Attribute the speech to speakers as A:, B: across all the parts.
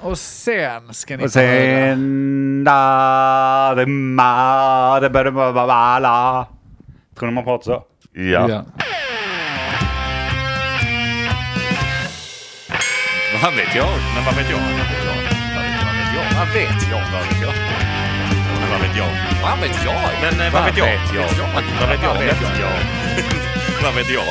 A: Och sen ska ni
B: Och
A: få höra.
B: sen... da, dem, ma, da, ba, da, ba, ba, ba, la. Tror ni man pratar så? Ja.
A: Ja.
C: Vad vet jag? Men vad vet jag? Vad vet jag? Vad vet jag? Vad vet jag? Men vad vet jag? Vad vet jag? Men eh, vad vet jag? eh, Vad vet jag? Vad vet jag? Vad vet jag?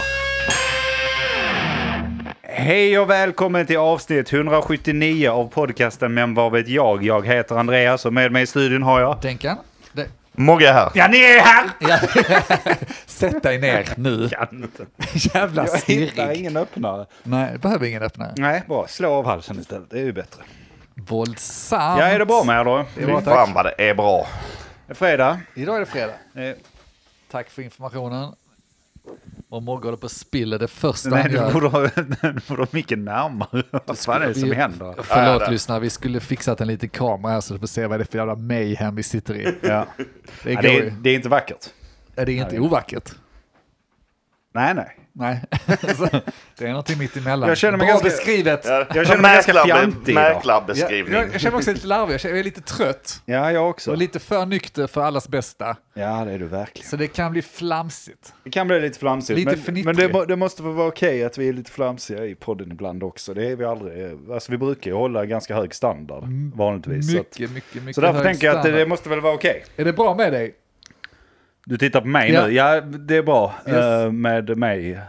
B: Hej och välkommen till avsnitt 179 av podcasten Men vad vet jag? Jag heter Andreas och med mig i studion har jag...
A: Denkan? Det-
D: Mogge är här.
B: Ja, ni är här!
A: Ja. Sätt dig ner nu.
B: Kan inte.
A: Jävla
B: Jag hittar
A: snirrig.
B: ingen öppnare.
A: Nej, det behöver ingen öppnare.
B: Nej, bra. Slå av halsen istället. Det är ju bättre.
A: Våldsamt.
B: Ja, är det bra med er då? Det
A: bra, tack.
D: Fan vad det är bra.
B: är fredag.
A: Idag är det fredag.
B: Eh,
A: Tack för informationen. Och Mogge håller på att spilla det första
B: Nej,
A: han
B: nu
A: gör.
B: borde ha nu borde ha mycket närmare. Vad fan är det som
A: Vi-
B: händer?
A: Förlåt
D: Ja, det-
A: lyssnare, vi skulle fixat en liten kamera här så du får se vad det är för jävla mayhem vi sitter i.
B: Ja.
A: Det
B: Ja,
A: går
B: det,
A: ju.
B: är, det är inte vackert.
A: Ja, det är inte ovackert.
B: Nej, nej.
A: Nej, Så, det är någonting mitt emellan.
B: Jag känner mig
A: Bra
B: ganska-
A: beskrivet.
B: Jag känner mig ganska fjantig idag.
A: Ja,
D: Mäklarbeskrivning.
A: jag, jag känner mig också lite larvig, jag, känner, jag är lite trött.
B: Ja, jag också.
A: Och lite för nykter för allas bästa.
B: Ja, det är du verkligen.
A: Så det kan bli flamsigt.
B: Det kan bli lite flamsigt.
A: Lite
B: men
A: fnittrig.
B: men det, må- det måste väl vara okej att vi är lite flamsiga i podden ibland också. Det är vi aldrig. Alltså, vi brukar ju hålla ganska hög standard vanligtvis. så, att,
A: Mm, Mycket, mycket, mycket
B: så därför
A: hög
B: tänker jag att det,
A: standard.
B: det måste väl vara okej.
A: Är det bra med dig?
B: Du tittar på mig
A: Ja.
B: nu. Ja, det är bra
A: Yes.
B: eh, med mig. eh,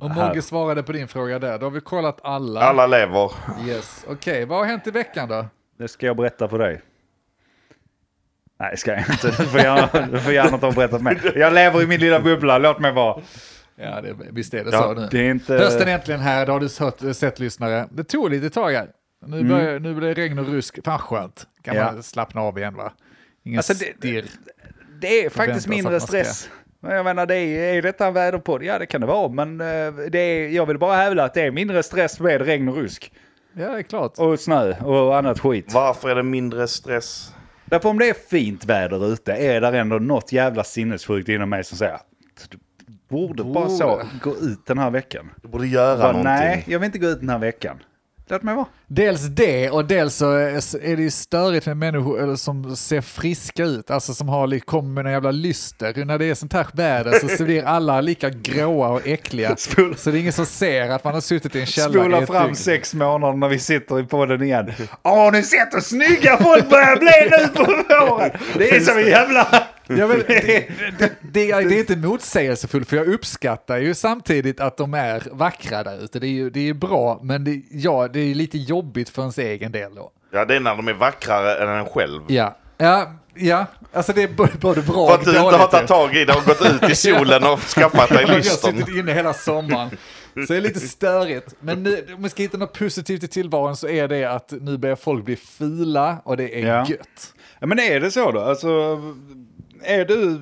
A: Och
B: här.
A: Mogge svarade på din fråga där. Då har vi kollat alla.
D: Alla lever.
A: Yes. Okej, vad har hänt i veckan då?
B: Det ska jag berätta för dig. Nej, det ska jag inte. Du får gärna, du får gärna ta och berätta för mig. Jag lever i min lilla bubbla, låt mig vara.
A: Ja, det, visst är det
B: Ja,
A: så nu.
B: det är inte-
A: Hösten är äntligen här, det har du hört, sett lyssnare. Det tog lite tag här. Nu, börjar, nu blir det regn och rusk. Fan skönt. Kan
B: Mm. Ja.
A: man slappna av igen va? Ingen
B: Alltså, det-
A: stirr.
B: Det är
A: Förväntas
B: faktiskt mindre
A: att man ska-
B: stress. Men jag menar, det är, är detta en väderpodd? Ja, det kan det vara, men eh, det är, jag vill bara hävda att det är mindre stress med regn och rusk.
A: Ja, det är klart.
B: Och snö och annat skit.
D: Varför är det mindre stress?
B: Därför om det är fint väder ute är där ändå något jävla sinnessjukt inom mig som säger du borde, bara så
A: Borde.
B: gå ut den här veckan.
D: Du borde göra
B: Bara,
D: någonting.
B: nej, jag vill inte gå ut den här veckan. Låt mig vara.
A: Dels det och dels så är är det ju störigt med människor eller som ser friska ut, alltså som har, li- kommer med någon jävla lyster. När det är sånt här väder så- så blir alla lika gråa och äckliga.
B: Spola-
A: Så det är ingen som ser att man har suttit i en källare i
B: Spola
A: ett
B: fram
A: dygn.
B: sex månader när vi sitter i podden igen. Har ni sett hur snygga folk börjar bli nu på våren? Det är som en jävla...
A: Ja, men, det, det, det, är- det är inte motsägelsefullt för jag uppskattar ju samtidigt att de är vackra där ute. Det är ju det är ju bra men det, ja, det är ju lite jobbigt för ens egen del då.
D: Ja, det är när de är vackrare än en själv.
A: Ja, ja, ja. alltså det är b- både bra och
D: För att du
A: dåligt.
D: inte har
A: ju.
D: tagit tag i det och gått ut i solen och skaffat dig
A: Jag har
D: lystern.
A: suttit inne hela sommaren. Så det är lite störigt. Men nu, om vi ska hitta något positivt i tillvaron så är det att nu börjar folk bli fula och det är
B: Ja.
A: gött.
B: Ja, men är det så då? Alltså, är du...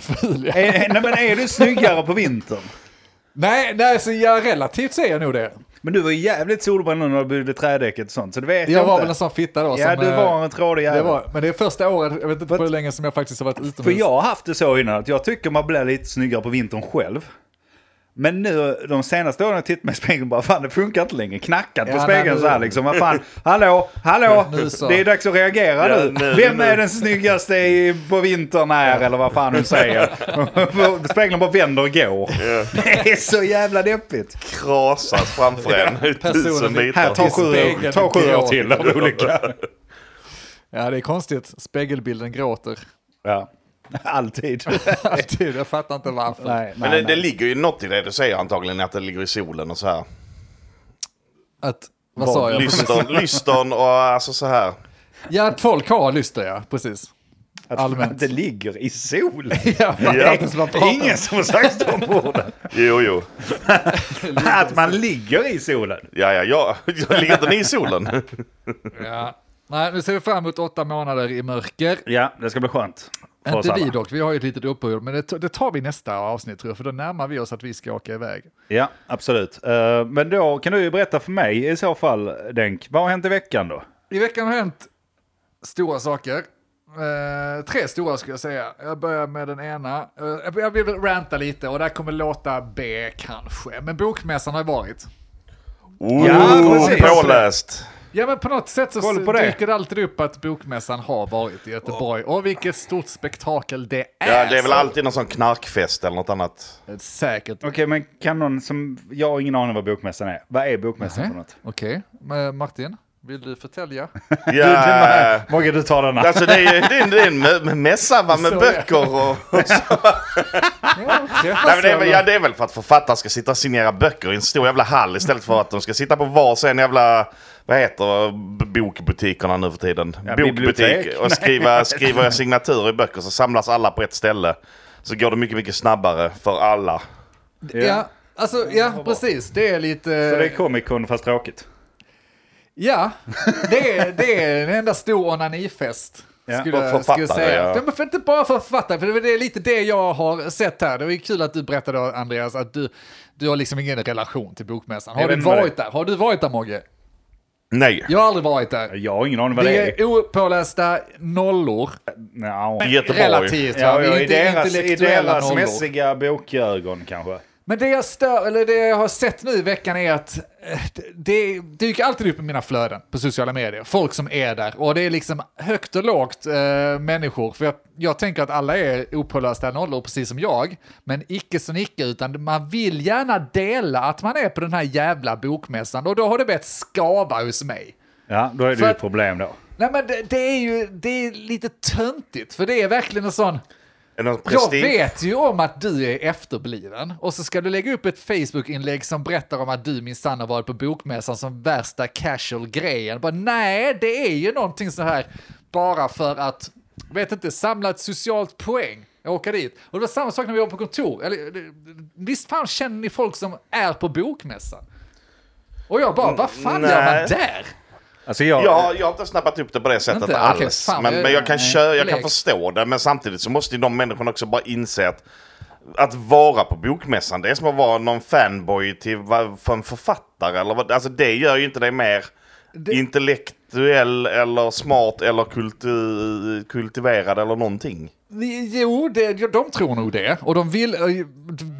A: Ful, ja.
B: Är, nej, men är du snyggare på vintern?
A: Nej, nej så jag relativt säger jag nog det.
B: Men du var ju jävligt solbränd nu när du byggde trädäcket och sånt, så det vet jag,
A: Jag var
B: inte.
A: väl en sån fitta då.
B: Ja,
A: som,
B: du
A: eh,
B: var en trådig
A: det
B: jävel.
A: var, Men det är första året, jag vet inte hur länge som jag faktiskt har varit utomhus.
B: För jag har haft det så innan, att jag tycker man blir lite snyggare på vintern själv. Men nu de senaste åren har jag tittat mig i spegeln och bara fan det funkar inte längre. Knackat på
A: Ja,
B: spegeln
A: men
B: så här
A: nu-
B: liksom. Vad fan, hallå, hallå,
A: Nu så.
B: det är dags att reagera
D: Ja,
B: nu.
D: nu-
B: Vem
D: nu.
B: är den snyggaste i, på vintern här eller vad fan du säger. spegeln bara vänder och går. Det är så jävla deppigt.
D: Krasas framför en i tusen
A: personen i-
D: bitar.
B: Här, ta sju, år-
A: spegeln
B: ta sju år
A: gråter.
B: till av olika.
A: Ja, det är konstigt. Spegelbilden gråter.
B: Ja, alltid.
A: Alltid, jag fattar inte varför.
B: Nej, nej,
D: Men det,
B: nej.
D: det ligger ju något i det du säger antagligen, att det ligger i solen och så här.
A: Att, vad sa jag?
D: Lystern, lystern och alltså så här.
A: Ja, att folk har lyster ja, precis.
B: Att,
A: allmänt.
B: att det ligger i solen.
A: Jag fattar
D: Ja.
A: inte ens vad jag pratar om.
B: Ingen som har sagt de orden.
D: Jo, jo.
B: Att man ligger i solen.
D: Ja, ja, ja. Jag ligger inte ni i solen?
A: Ja. Nej, nu ser vi fram emot åtta månader i mörker.
B: Ja, det ska bli skönt. för oss
A: Inte vi
B: alla.
A: dock, vi har ju ett litet uppehåll, men det, t- det tar vi nästa avsnitt tror jag, för då närmar vi oss att vi ska åka iväg.
B: Ja, absolut. Eh, Men då kan du ju berätta för mig i så fall, Denk. Vad har hänt i veckan då?
A: I veckan har hänt stora saker. Eh, tre stora skulle jag säga. Jag börjar med den ena. Eh, jag- jag vill ranta lite och det här kommer låta B kanske, men Bokmässan har ju varit.
D: Oh,
B: Ja, precis.
D: påläst.
A: Ja men på något sätt så
B: Koll på det.
A: dyker det alltid upp att bokmässan har varit i Göteborg. Och vilket stort spektakel det är!
D: Ja, det är väl
A: så-
D: alltid någon sån knarkfest eller något annat.
A: Säkert.
B: Okej, men kan någon som... Jag har ingen aning vad bokmässan är. Vad är bokmässan
A: Nej,
B: för något?
A: Eh, Okej, men Martin, vill du förtälja?
D: Ja,
B: Mogge, du tar denna.
D: alltså det är ju det är en, det är en mä- mässa va, med
A: Så, ja.
D: böcker och...
A: Ja, träffas
D: Nej, men det, är,
A: över-
D: väl- ja, det är väl för att författare ska sitta och signera böcker i en stor jävla hall istället för att de ska sitta på var sin jävla, vad heter b- bokbutikerna nu för tiden?
B: Ja,
D: Bokbutik
B: bibliotek.
D: och skriva, skriva signaturer i böcker så samlas alla på ett ställe. Så går det mycket, mycket snabbare för alla.
A: Ja, alltså, ja precis. Det är lite...
B: Så det är Comic Con fast tråkigt.
A: Ja, det är, det är en enda stor onanifest.
B: Ja,
A: Skulle,
D: och
A: jag-
D: författare,
A: skulle jag säga.
D: ja.
A: Ja. men för inte bara för författare, för det är väl- det är lite det jag har sett här. Det var ju kul att du berättade Andreas att du, du har liksom ingen relation till bokmässan.
B: Jag
A: Har
B: vet
A: du
B: inte vad
A: varit där? Har du varit där Mogge?
D: Nej.
A: Jag har aldrig varit där.
B: Jag har ingen aning vad
A: Vi
B: det är.
A: är opålästa nollor.
B: Nja.
D: I Göteborg.
A: Relativt,
B: Ja,
A: ja,
B: ja,
A: vi är
B: I
A: inte
B: deras, i
A: intellektuella
B: deras
A: nollor.
B: mässiga bokögon kanske.
A: Men det jag, stör, eller det jag har sett nu i veckan är att eh, det- det dyker alltid upp i mina flöden på sociala medier. Folk som är där. Och det är liksom högt och lågt eh, människor. För jag, jag tänker att alla är opålösta nollor, precis som jag. Men icke så icke, utan man vill gärna dela att man är på den här jävla bokmässan. Och då har det börjat skava hos mig.
B: Ja, då är det
A: För
B: ju
A: att-
B: ett problem då.
A: Nej men det, det är ju det är lite töntigt, för det är verkligen en sån...
D: Är det någon
A: Jag
D: prestige?
A: vet ju om att du är efterbliven och så ska du lägga upp ett Facebook-inlägg som berättar om att du minsann har varit på bokmässan som värsta casual-grejen. Bara, nej, det är ju någonting så här bara för att, vet inte, samla ett socialt poäng. Jag åker dit. Och det var samma sak när vi var på kontor. Eller, visst fan känner ni folk som är på bokmässan? Och jag bara, vad fan gör
D: nej.
A: man där?
B: Alltså jag...
D: Jag, jag har inte snappat upp det på det sättet
A: Inte?
D: alls.
A: Okej, fan,
D: men,
A: jag-
D: men jag kan,
A: nej.
D: kö, jag kan
A: Blek.
D: förstå det. Men samtidigt så måste ju de människorna också bara inse att att vara på bokmässan, det är som att vara någon fanboy till vad- för en författare. Eller vad, alltså det gör ju inte dig mer intellektuell eller smart eller kultu, kultiverad eller någonting.
A: Jo, det, ja, de tror nog det. Och de vill, eh,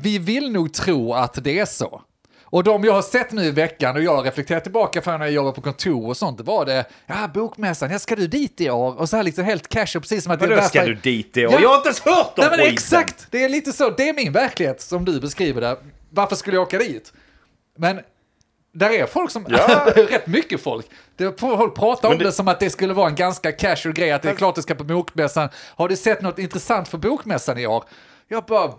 A: vi vill nog tro att det är så. Och de jag har sett nu i veckan och jag har reflekterat tillbaka från när jag jobbade på kontor och sånt, det var det, ja bokmässan, ja ska du dit i år? Och så här liksom helt casual, precis som att
B: Vadå
A: det
B: ska
A: därför-
B: du dit i år?
A: Ja.
B: Jag har inte ens hört om
A: Nej men
B: skiten.
A: exakt, det är lite så, det är min verklighet som du beskriver det. Varför skulle jag åka dit? Men där är folk som, det är rätt mycket folk. Det, är- folk pratar om det...
D: det-
A: som att det skulle vara en ganska casual grej, att det är klart du ska på bokmässan. Har du sett något intressant för bokmässan i år? Jag bara,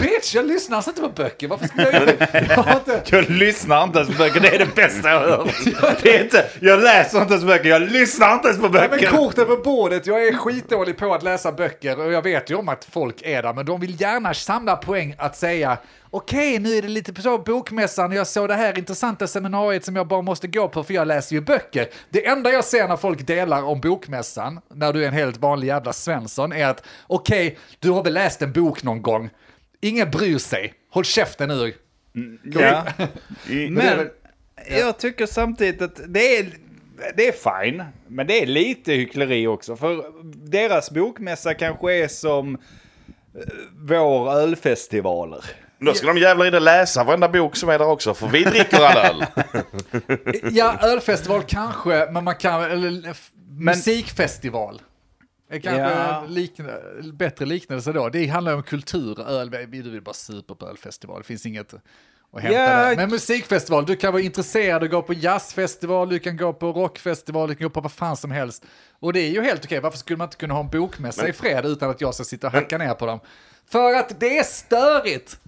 A: bitch, jag lyssnar alltså inte på böcker, varför skulle jag göra det? Jag har inte...
B: Jag lyssnar inte ens på böcker, det är det bästa jag har hört. Det är inte, jag läser inte ens böcker, jag lyssnar inte ens på
A: Nej, men
B: böcker.
A: korten på bordet, jag är skitdålig på att läsa böcker och jag vet ju om att folk är där, men de vill gärna samla poäng att säga okej, nu är det lite på så bokmässan, jag såg det här intressanta seminariet som jag bara måste gå på för jag läser ju böcker. Det enda jag ser när folk delar om bokmässan, när du är en helt vanlig jävla Svensson, är att okej, du har väl läst en bok någon gång, ingen bryr sig, håll käften nu.
B: Ja.
D: I,
B: Men jag tycker samtidigt att det är, det är fine, men det är lite hyckleri också. För deras bokmässa kanske är som eh, vår ölfestivaler.
D: då ska de jävlar i det läsa varenda bok som är där också, för vi dricker all öl.
A: Ja, ölfestival kanske, men man kan, eller f- musikfestival. Det är kanske
B: Ja.
A: likna- bättre liknelse då. Det handlar om kultur, öl, vi du vill bara supa på ölfestival, det finns inget att hämta
B: Ja.
A: där. Men musikfestival, du kan vara intresserad och gå på jazzfestival, du kan gå på rockfestival, du kan gå på vad fan som helst. Och det är ju helt okej, varför skulle man inte kunna ha en bokmässa i fred utan att jag ska sitta och hacka ner på dem? För att det är störigt!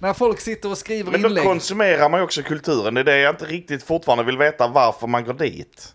A: När folk sitter och skriver
D: Men då
A: inlägg.
D: konsumerar man ju också kulturen. Det är det jag inte riktigt fortfarande vill veta varför man går dit.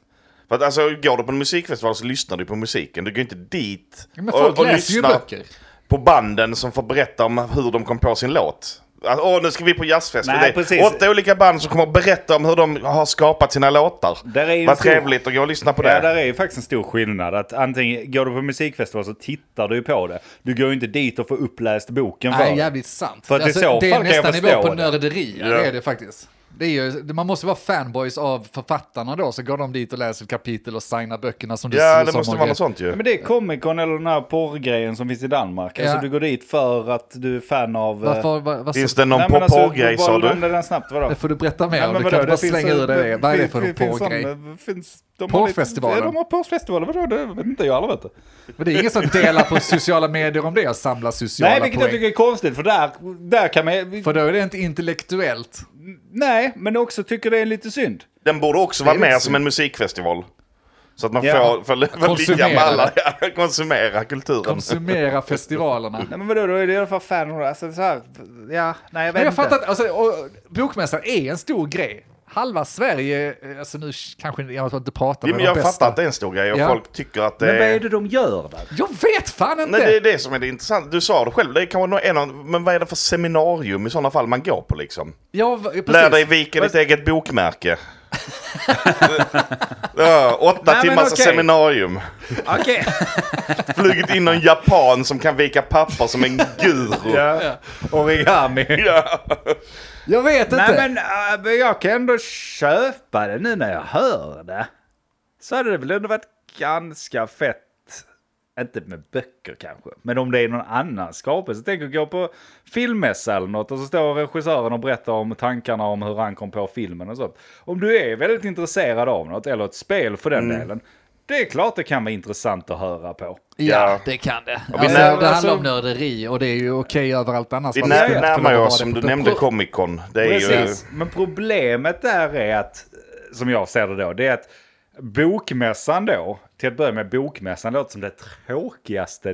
D: För att alltså, går du på en musikfestival så lyssnar du på musiken. Du går inte dit
A: Men folk läser ju
D: lyssnar
A: böcker.
D: på banden som får berätta om hur de kom på sin låt. Att, Åh, nu ska vi på jazzfest.
B: Nej,
D: Det är
B: precis.
D: Åtta olika band som kommer att berätta om hur de har skapat sina låtar.
B: Där är ju
D: Vad
B: så-
D: trevligt att gå och lyssna på
B: Ja,
D: det.
B: där är ju faktiskt en stor skillnad. Att antingen går du på musikfestival så tittar du ju på det. Du går ju inte dit och får uppläst boken för
A: Nej,
B: dig.
A: jävligt sant. Alltså,
B: För att i så fall
A: det är
B: kan jag
A: nästan nivå
B: förstå
A: på
B: det.
A: nörderi,
D: Ja.
A: det är det faktiskt. Det är ju, man måste vara fanboys av författarna då, så går de dit och läser ett kapitel och signar böckerna som du
D: Ja,
A: sa,
D: det
A: som
D: måste
A: och
D: vara
A: grejer.
D: något sånt ju.
B: Men det är Comic Con eller den här porrgrejen som finns i Danmark.
A: Ja.
B: Alltså du går dit för att du är fan av... eh,
A: Varför, vad, vad,
D: Finns det någon
B: Nej, men alltså,
D: porrgrej
B: bara
D: sa du?
B: nämnde den snabbt, vadå?
A: det får du berätta mer
B: Nej,
A: om,
B: men
A: du kan inte
B: vadå,
A: bara
B: det finns-
A: slänga ur dig det. Vad är det för
B: finns- eh,
A: porrgrej?
B: finns sån- Det finns De har lite-
A: Porrfestivalen.
B: Ja, de har porrfestivaler. Vadå? Det vet inte jag. Alla vet det.
A: Men det är ingen som delar på sociala medier om det och samlar sociala
B: Nej, vilket
A: poäng.
B: jag tycker är konstigt. För där, där kan man...
A: För då är det inte intellektuellt.
B: Nej, men också tycker det är lite synd.
D: Den borde också
A: Det är
D: vara mer
A: lite
D: som en musikfestival. Så att man
B: Ja.
D: får, får, får ligga
A: Konsumera.
D: med alla, ja, konsumera kulturen.
A: Konsumera festivalerna.
B: Nej, men vadå? Då är det i alla fall fan. Alltså, så här, ja, nej, jag vet
A: Men jag
B: inte.
A: fattar att alltså, och, bokmässan är en stor grej. Halva Sverige, eh, alltså nu kanske jag inte pratar med
D: Jo, men
A: de
D: jag
A: bästa.
D: fattar att det är en stor grej och
A: Ja.
D: folk tycker att det
B: Men vad
D: är...
B: är det de gör där?
A: Jag vet fan inte!
D: Nej, det är det som är det intressanta. Du sa det själv, det är kanske nog en av... Men vad är det för seminarium i sådana fall man går på liksom?
A: Jag, v- precis.
D: Lär dig vika ditt eget bokmärke. ja, åtta
B: Nej, men
D: timmars
B: okej.
D: seminarium.
B: Okej.
D: Flugit in någon japan som kan vika papper som en guru.
B: ja. Origami.
D: Ja.
A: Jag vet inte!
B: Nej men äh, men jag kan ändå köpa det nu när jag hör det. Så hade det väl ändå varit ganska fett. Inte med böcker kanske, men om det är någon annan skapelse. Tänk att gå på filmmässa eller något och så står regissören och berättar om tankarna om hur han kom på filmen och sånt. Om du är väldigt intresserad av något, eller ett spel för
A: Mm.
B: den delen. Det är klart det kan vara intressant att höra på.
D: Ja.
E: Ja, det kan det. Alltså, det
D: när-
E: handlar
B: alltså-
E: om nörderi och det är ju okej överallt annars.
D: Vi
E: Varför
D: när,
E: skulle inte få
D: närmar
E: lov att
D: oss,
E: ha
D: som
E: det
D: du
E: på
D: nämnde,
E: böcker?
D: Comic Con. Det är ju...
B: Precis, men problemet där är att, som jag ser det då, det är att bokmässan då, till att börja med bokmässan låter som det tråkigaste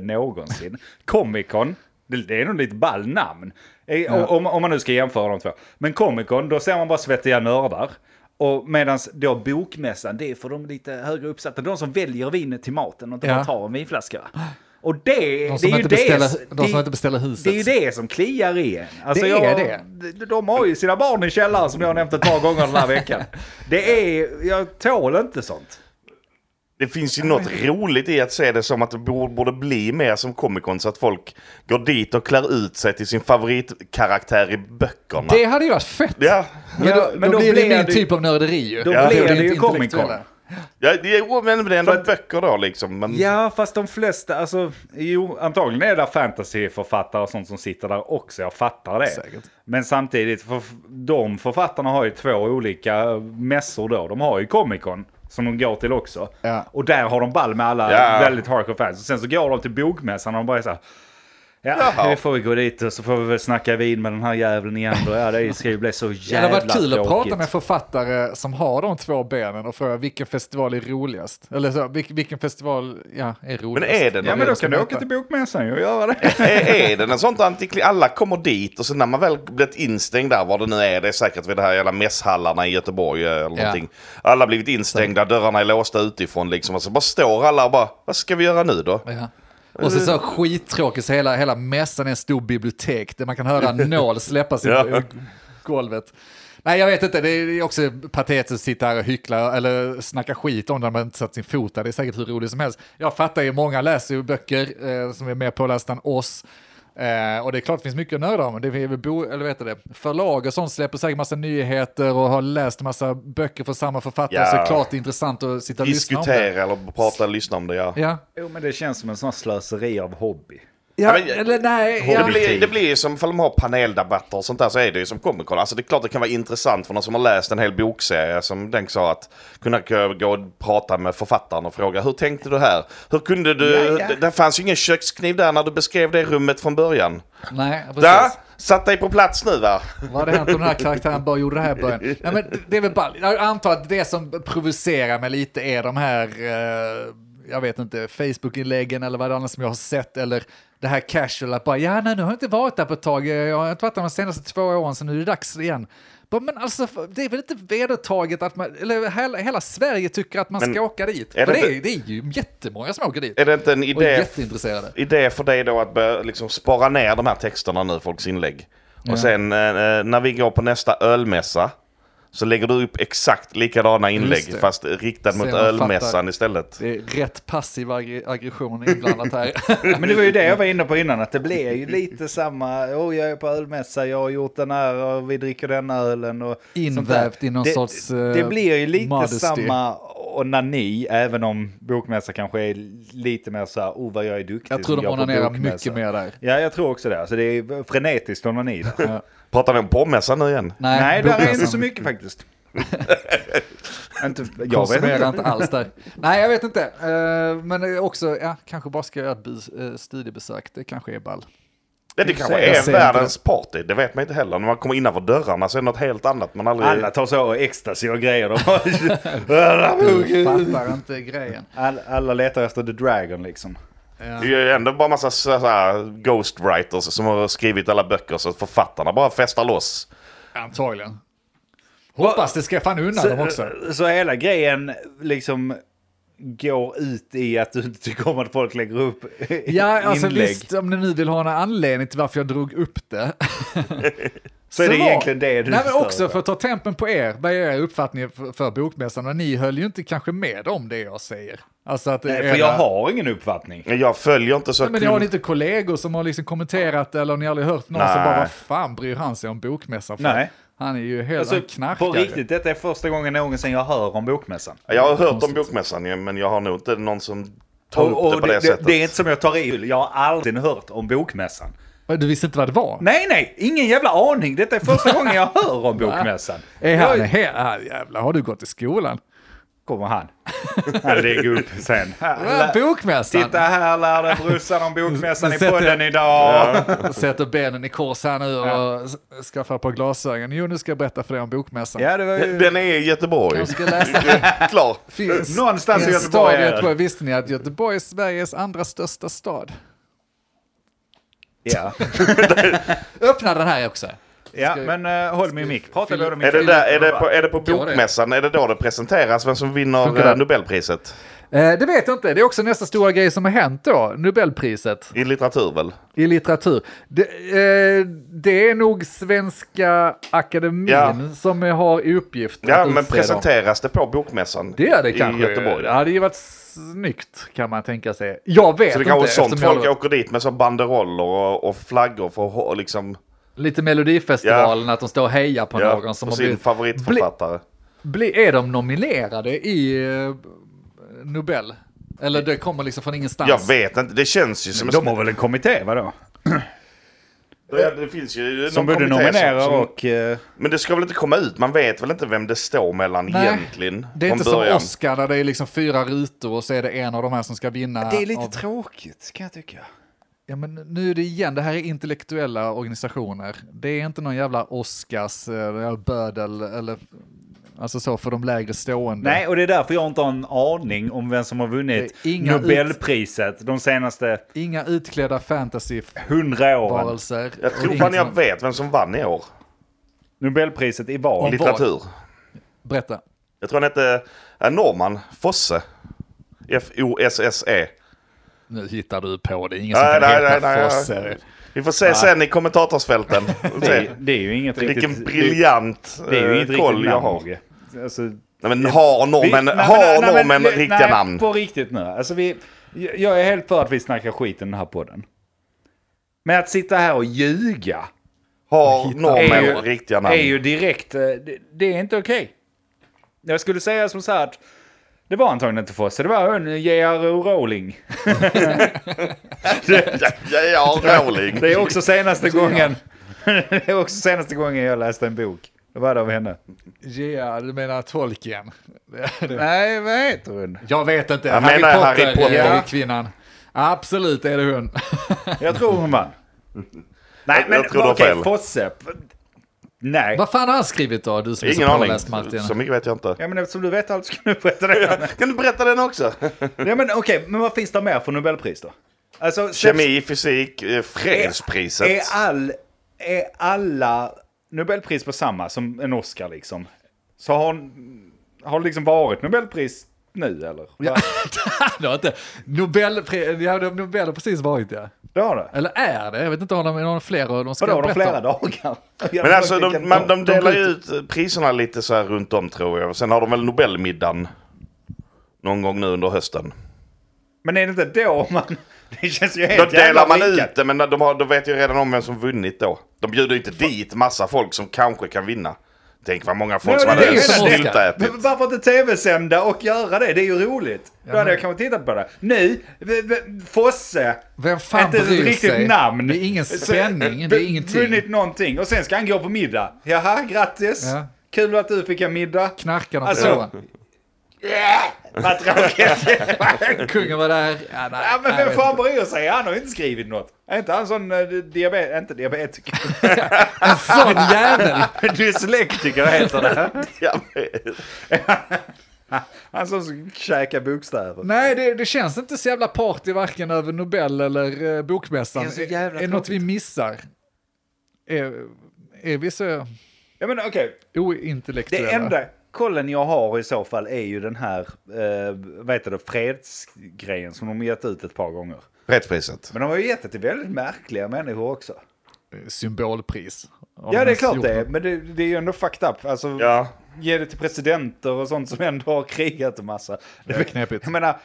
B: någonsin. Comic Con, det, det är nog lite ball namn. Eh, och- Om, om man nu ska jämföra de två. Men Comic Con, då ser man bara svettiga nördar. Och medan då bokmässan, det är för de lite högre uppsatta, de som väljer vinet till maten och inte
A: Ja.
B: bara tar en vinflaska. va? Och det,
A: De som
B: det är
A: inte
B: ju det,
A: beställer- de
B: det-
A: som inte beställer huset.
B: Det är ju det som kliar i en. Alltså
A: Det är
B: jag,
A: det.
B: de- De har ju sina barn i källaren som jag har nämnt ett par gånger den här veckan. Det är, jag tål inte sånt.
D: Det finns ju något roligt i att se det som att det borde borde bli mer som Comic Con så att folk går dit och klär ut sig till sin favoritkaraktär i böckerna.
A: Det hade ju varit fett!
D: Ja,
A: Men då,
B: Ja, men
A: då,
B: då
A: blir det
B: blir
A: min
B: det-
A: typ av nörderi ju.
B: Då
A: Ja.
B: blir
A: är
B: det ju
A: inte
B: Comic Con.
A: intellektuella.
D: ja, jo, men det är ändå
B: För att-
D: böcker då liksom. Men...
B: Ja, fast de flesta, alltså, jo, antagligen är det fantasyförfattare och sånt som sitter där också, jag fattar det.
A: Säkert.
B: Men samtidigt, för de författarna har ju två olika mässor då. De har ju Comic Con, som de går till också.
A: Ja.
B: Och där har de ball med alla
D: Ja.
B: väldigt hardcore fans. Och sen så går de till bokmässan och de bara är så här, Ja,
D: Jaha.
B: nu får vi gå dit och så får vi väl snacka vin med den här jäveln igen då. Ja, det ska ju bli så
A: Det
B: jävla
A: hade varit kul att prata
B: tråkigt.
A: med författare som har de två benen och fråga vilken festival är roligast? Eller så, vilken, vilken festival ja, är roligast?
D: Men är det
B: Ja,
D: någon?
B: men då
A: ska
B: kan du
A: möta.
B: åka till bokmässan ju och göra det.
D: är, är det en sånt antikli... Alla kommer dit och så när man väl blivit instängd där, vad det nu är, det är säkert vid de här jävla mässhallarna i Göteborg eh, eller någonting. Alla har blivit instängda, dörrarna är låsta utifrån liksom. Och så bara står alla och bara, vad ska vi göra nu då?
A: Ja. Och så,
D: Eh.
A: så skittråkigt så hela, hela mässan är en stor bibliotek där man kan höra en nål släppas i
D: Ja.
A: golvet. Nej, jag vet inte. Det är också patetiskt att sitta här och hyckla eller snacka skit om det när man inte satt sin fot där. Det är säkert hur roligt som helst. Jag fattar ju, många läser ju böcker eh, som är mer pålästa än oss. Eh, och det är klart det finns mycket att nörda om. Det är väl bo, eller vet du det, förlag och sånt släpper säkert massa nyheter och har läst massa böcker från samma författare.
D: Ja.
A: Så det är klart det är intressant att sitta och lyssna om det.
D: Diskutera eller prata och lyssna om det, ja.
A: Ja,
B: Jo, men det känns som en sån här slöseri av hobby.
A: ja
D: men-
A: eller nej.
D: Det
A: Ja.
D: blir, det blir ju som ifall de har paneldebatter och sånt där så är det ju som Comic Con. Alltså det är klart det kan vara intressant för någon som har läst en hel bokserie som den sa att kunna k- gå och prata med författaren och fråga hur tänkte du här? Hur kunde du?
B: Ja, ja.
D: Det, det fanns ju ingen kökskniv där när du beskrev det rummet från början.
A: Nej, precis.
D: Där! Satt dig på plats nu va?
A: Vad hade hänt om den här karaktären bara gjorde det här i början? Nej, men det är väl ball. Jag antar att det som provocerar mig lite är de här, eh, jag vet inte, Facebook-inläggen eller vad det annars som jag har sett, eller det här casual att bara, ja nej, nu har jag inte varit där på ett tag, jag har inte varit där de senaste två åren, så nu är det dags igen. Bara, Men alltså, det är väl inte vedertaget att man, eller hela, hela Sverige tycker att man
D: Men
A: ska åka dit.
D: är
A: För
D: det
A: det är,
D: inte-
A: det är ju jättemånga som åker dit.
D: Är det inte en
A: och är
D: idé,
A: jätteintresserade.
D: idé för dig då att börja liksom spara ner de här texterna nu, folks inlägg? Och sen eh, eh, när vi går på nästa ölmässa så lägger du upp exakt likadana
A: Just det.
D: inlägg fast riktad
A: Så
D: mot
A: man fattar.
D: ölmässan istället.
A: Det är rätt passiv aggre- aggression inblandat här.
B: Men det var ju det jag var inne på innan, att det blir ju lite samma. Oh, jag är på ölmässa, jag har gjort den här och vi dricker den ölen. Och sånt där.
A: Invävt i någon
B: det,
A: sorts,
B: Det
A: eh,
B: blir ju lite
A: modesty.
B: samma onani, även om bokmässa kanske är lite mer så här, oh vad jag är duktig.
A: Jag tror
B: som
A: de
B: går på
A: onanerar
B: bokmässa."
A: mycket mer där.
B: Ja, jag tror också det. Alltså det är frenetiskt onani. Där.
D: Pratar ni om porrmässan nu igen?
B: Nej, där är
A: bokmässan.
B: inte så mycket faktiskt. Inte, jag vet
E: konsumerar
B: inte.
E: inte alls där. Nej, jag vet inte. Eh, Men också, ja, kanske bara ska göra ett bes- eh, studiebesök. Det kanske är ball.
D: Ja, det kanske
B: Jag
D: är
B: ser inte
D: världens party, det vet man inte heller. När man kommer innanför dörrarna så är det något helt annat man aldrig...
B: Alla tar så ecstasy och grejer. De
E: Du
B: har-
E: fattar inte grejen.
B: All, alla letar efter The Dragon liksom.
D: Det är ju ändå bara massa så så här, ghostwriters som har skrivit alla böcker så att författarna bara festar loss.
A: Antagligen. Hoppas det ska fan undan dem också.
B: Så eh, hela grejen liksom går ut i att du inte tycker om att folk lägger upp
A: Ja, alltså
B: inlägg.
A: visst, om ni nu vill ha en anledning till varför jag drog upp det.
B: Så är det egentligen det du
A: Nej, men
B: stör
A: också för att ta tempen på er, vad är er uppfattning för, för bokmässan? Och ni höll ju inte kanske med om det jag säger. Alltså att
B: Nej,
A: era-
B: För jag har ingen uppfattning.
D: Men Jag följer inte så...
A: Nej, men ni har ni inte kollegor som har liksom kommenterat eller ni har aldrig hört någon som
D: Nej.
A: bara, vad fan bryr han sig om bokmässan för?
B: Nej.
A: Han är ju helt
B: Alltså,
A: en knarkare.
B: på riktigt, detta är första gången någonsin jag hör om Bokmässan.
D: Jag har hört om bokmässan ju, men jag har nog inte någon som tar
B: Och,
D: upp det
B: och
D: på det,
B: det, det,
D: sättet.
B: det är inte som jag tar i. Jag har aldrig hört om Bokmässan.
A: Du visste inte vad det var?
B: Nej, nej, ingen jävla aning. Detta är första gången jag hör om Bokmässan.
A: Är han he- ah, jävlar, har du gått i skolan?
B: Kommer han. Han lägger upp sen.
A: Ah, Bokmässan!
B: Titta här lärde brorsan om Bokmässan i
A: Sätter-
B: podden idag.
A: Sätter benen i kors här nu och s- skaffar ett par glasögon. Jo, nu ska jag berätta för dig om bokmässan.
B: Ja, det var ju...
D: Den är i Göteborg.
A: Jag ska läsa
D: Klar.
A: finns
B: Någonstans
A: i
B: i
A: en stad
B: Göteborg
A: i
B: är det.
A: Göteborg. Visste ni att Göteborg är Sveriges andra största stad?
B: Ja,
A: Öppna den här också.
B: ja
A: Ska-
B: men eh, håll min mick. Prata
A: Fyll-
B: både min
D: Är det,
B: mick.
D: där, är, det på, är det på
A: Ja, det är.
D: bokmässan, är det då det presenteras vem som vinner
A: Funkar det?
D: eh, Nobelpriset?
A: Eh, det vet jag inte. Det är också nästa stora grej som har hänt då. Nobelpriset
D: I litteratur väl?
A: i litteratur. Det, eh, det är nog Svenska Akademin
D: Ja.
A: som har i uppgift
D: Ja,
A: att
D: men
A: utse dem.
D: presenteras det på bokmässan?
A: Det är det
D: i
A: kanske.
D: Göteborg?
A: Det hade ju varit snyggt kan man tänka sig. Jag vet
D: Så det
A: inte.
D: kanske är sånt
A: eftersom
D: folk
A: jag,
D: åker dit med så banderoller och, och flaggor för att ha- liksom...
A: Lite Melodifestivalen, att de står och hejar på
D: Ja,
A: någon som
D: på
A: har
D: sin
A: blivit...
D: favoritförfattare.
A: Bli, är de nominerade i eh, Nobel? Eller det kommer liksom från ingenstans?
D: Jag vet inte, det känns ju som...
B: De har väl en kommitté, vadå?
D: Ja, det finns ju någon
B: Som både
D: kommitté
B: nominerar
D: som-
B: och... eh,
D: Men det ska väl inte komma ut? Man vet väl inte vem det står mellan
A: Nej,
D: egentligen?
A: Det är
D: från
A: inte
D: början.
A: som Oscar där det är liksom fyra rutor och så är det en av de här som ska vinna.
B: Det är lite
A: av...
B: tråkigt, kan jag tycka.
A: ja, men Nu är det igen, det här är intellektuella organisationer. Det är inte någon jävla Oscars, eh, eller bödel eller alltså så för de lägre stående.
B: Nej, och det är därför jag inte har en aning om vem som har vunnit
A: Det är inga
B: Nobelpriset de senaste
A: Inga utklädda fantasyvarelser.
B: hundra åren.
D: Jag tror fan jag vet vem som vann i år.
B: Nobelpriset i val.
A: Om-
D: Litteratur.
A: Berätta.
D: Jag tror han hette eh, Norman Fosse. F-O-S-S-E.
A: Nu hittar du på det, ingen som
D: Nej,
A: kan
D: E. nej,
A: heta
D: nej, nej.
A: Fosse.
D: Vi får se sen i kommentatorsfälten. Vi får
B: Det
D: se
B: är, det är ju inget
D: Vilken
B: riktigt...
D: briljant
B: det, det är ju
D: eh,
B: inget
D: koll
B: riktigt
D: jag
B: namn.
D: har.
B: Mogge. Alltså,
D: Nej, men har
B: Vi-
D: norrmän
B: nej,
D: har
B: nej, nej,
D: norrmän
B: nej,
D: riktiga
B: nej,
D: namn?
B: på riktigt nu. Alltså vi, jag är helt för att vi snackar skit i den här podden. Men att sitta här och ljuga
D: Har
B: är
D: norrmän
B: ju-
D: riktiga
B: är
D: namn?
B: ju direkt, eh, det, det är inte okej. Jag skulle säga som så här att det var antagligen inte Fosse, det var hon J.R.R. Rowling.
D: Ja, ja, ja, Rowling.
B: Det är också senaste gången. Det är också senaste gången jag läste en bok. Det var det av henne.
A: Ja, du menar Tolkien?
B: Nej, vad heter hon?
A: Jag vet inte.
D: Jag menar Harry Potter.
A: Ja. kvinnan. Absolut är det hon.
B: Jag tror hon vann. Nej,
D: Jag-
B: men
D: jag tror du har
B: okej,
D: fel.
B: Fosse. Nej.
A: Vad fan har han skrivit då, du som är så
D: Ingen aning.
A: påläst Martin?
D: Så mycket vet jag inte.
B: Ja men eftersom du vet allt så kan du berätta det.
D: Kan du berätta den också?
B: ja men okej, men vad finns det mer för Nobelpris då? Alltså,
D: Kemi, fysik, eh,
B: är, är,
D: fredspriset.
B: all, är alla Nobelpris på samma som en Oscar liksom? Så har, har det liksom varit Nobelpris nu eller? Ja.
A: det har inte. Nobelpri- ja, de- Nobel har precis varit ja.
B: Det har det?
A: Eller är det? Jag vet inte om de har någon fler. och De ska
B: Vadå, har de
A: berätta om.
B: flera dagar?
D: Men alltså de, man, de
A: de
D: delar ju
A: bryter-
D: ut eh, priserna lite så här runt om tror jag. Sen har de väl Nobelmiddagen. Någon gång nu under hösten.
B: Men är det inte då man... Det känns ju
D: Då
B: helt jävla
D: delar man
B: vinkat.
D: ut det men de, har, de vet ju redan om vem som vunnit då. De bjuder ju inte dit massa folk som kanske kan vinna. Tänk vad många folk
B: Nej,
D: som
B: men
D: hade
B: det är ju som Oscar.
D: snyltätit.
B: Men varför inte tv-sända och göra det? Det är ju roligt. Då hade jag kanske tittat på det. Nu, v- v- Fosse.
A: Vem fan
B: inte ens
A: bryr
B: ett riktigt
A: sig?
B: namn. eh,
A: Det är ingen spänning, det är ingenting.
B: Vunnit någonting och sen ska han gå på middag. Jaha, grattis.
A: Ja.
B: Kul att du fick en middag.
A: Knarkar de på
B: Alltså,
A: alltså,
B: Vad tråkigt.
A: Kungen var där. Ja, nej,
B: Ja, men
A: nej,
B: vem fan bryr sig? Han har ju inte skrivit något. Är inte han sån eh, diabet... Inte diabetiker.
A: En sån jävel!
B: Dyslektiker heter det.
D: Ja, men-
B: Han som käkar bokstäver.
A: Nej, det, det känns inte så jävla party varken över Nobel eller eh, bokmässan.
B: Det är så jävla
A: är något vi missar? Är, är vi så
B: Ja, men okej.
A: ointellektuella?
B: Det enda kollen jag har i så fall är ju den här, eh, vad heter det, fredsgrejen som de gett ut ett par gånger.
D: Fredspriset.
B: Men de har ju gett det till väldigt märkliga människor också.
A: Symbolpris. Om
B: Ja,
A: man
B: det är klart
A: gjort
B: det är,
A: något.
B: men det, det är ju ändå fucked up. Alltså,
D: Ja.
B: ge det till presidenter och sånt som ändå har krigat en massa. Det
A: är knepigt.
B: Jag menar,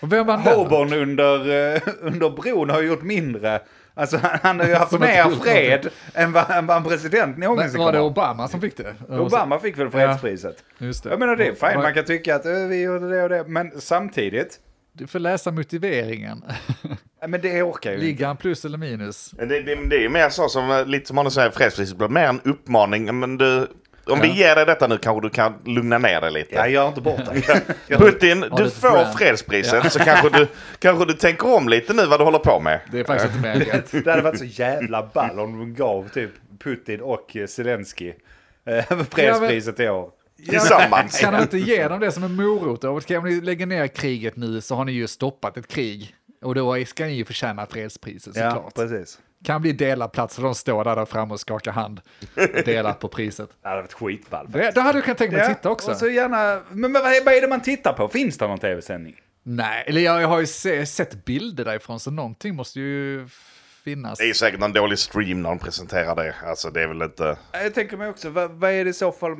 A: Och vem vann den?
B: Hobon under, eh, under bron har ju gjort mindre. Alltså han, han har ju haft
A: Som inte
B: mer
A: gjort
B: fred än vad, än vad en president
A: Men
B: någonsin
A: Var
B: kommer
A: det
B: ha.
A: Obama som fick det?
B: Obama fick väl fredspriset?
A: Just det.
B: Jag menar det är fint,
A: Var-
B: man kan tycka att ö, vi gjorde det och det, men samtidigt,
A: Du får läsa motiveringen.
B: nej, men det orkar ju inte.
A: Ligger han plus eller minus?
D: Men Det, det, det är ju mer så som, eh, lite som Anders säger, fredspriset blir mer en uppmaning. Men du, om vi ger dig detta nu kanske du kan lugna ner dig lite.
B: Ja, gör inte bort det.
D: Putin, du
A: lite
D: får
A: brand.
D: fredspriset så kanske du, kanske du tänker om lite nu vad du håller på med.
A: Det är faktiskt inte mer än rätt.
B: Det hade varit så jävla ball om de gav typ Putin och eh, Zelensky eh, fredspriset i år.
D: Tillsammans.
A: Kan de inte ge dem det som en morot? Okej, om ni lägger ner kriget nu så har ni ju stoppat ett krig. Och då ska ni ju förtjäna fredspriset
B: Ja,
A: såklart.
B: precis.
A: kan bli delad plats för de står där, där framme och skakar hand. Delat på priset.
B: Det hade varit skitball.
A: Det, det hade du kunnat tänka mig att titta också.
B: Och så gärna, men vad är vad är det man tittar på? Finns det någon tv-sändning?
A: Nej, eller jag, jag har ju se, sett bilder därifrån så någonting måste ju finnas.
D: Det är säkert någon dålig stream när de presenterar det. Alltså det är väl inte...
B: Jag tänker mig också, vad, vad är det i så fall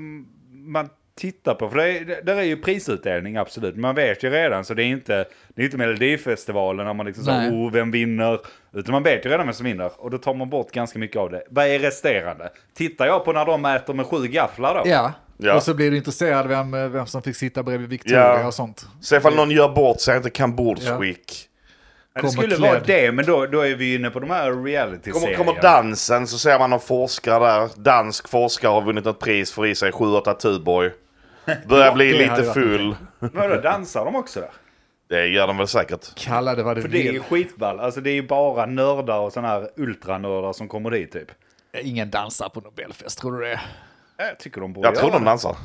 B: man tittar på? För det är, det- där är ju prisutdelning, absolut. Man vet ju redan, så det är inte, det är inte Melodifestivalen när man liksom
A: Nej.
B: säger oh, vem vinner? Utan man vet ju redan vem som vinner. Och då tar man bort ganska mycket av det. Vad är resterande? Tittar jag på när de äter med sju gafflar då?
A: Ja.
D: Ja.
A: och så blir du intresserad vem, vem som fick sitta bredvid Victoria
D: Ja.
A: och sånt.
D: Se ifall någon gör bort sig, inte kan bordsskick.
B: Ja, det
A: Kommer
B: skulle vara
A: klädd.
B: det, men då, då är vi inne på de här reality-serierna.
D: Kommer, kommer dansen så ser man någon forskare där. Dansk forskare har vunnit något pris, får i sig 7-8 Tuborg. Börjar bli
A: det hade
D: lite
A: varit
D: full.
B: Vadå, dansar de också där?
D: Det gör de väl säkert.
A: Kalla det vad du
B: För det är ju
A: vill.
B: skitball. Alltså det är ju bara nördar och sådana här ultranördar som kommer dit typ.
A: Ingen dansar på Nobelfest, tror du det?
B: Jag tycker de borde
D: Jag tror
B: göra
D: de dansar.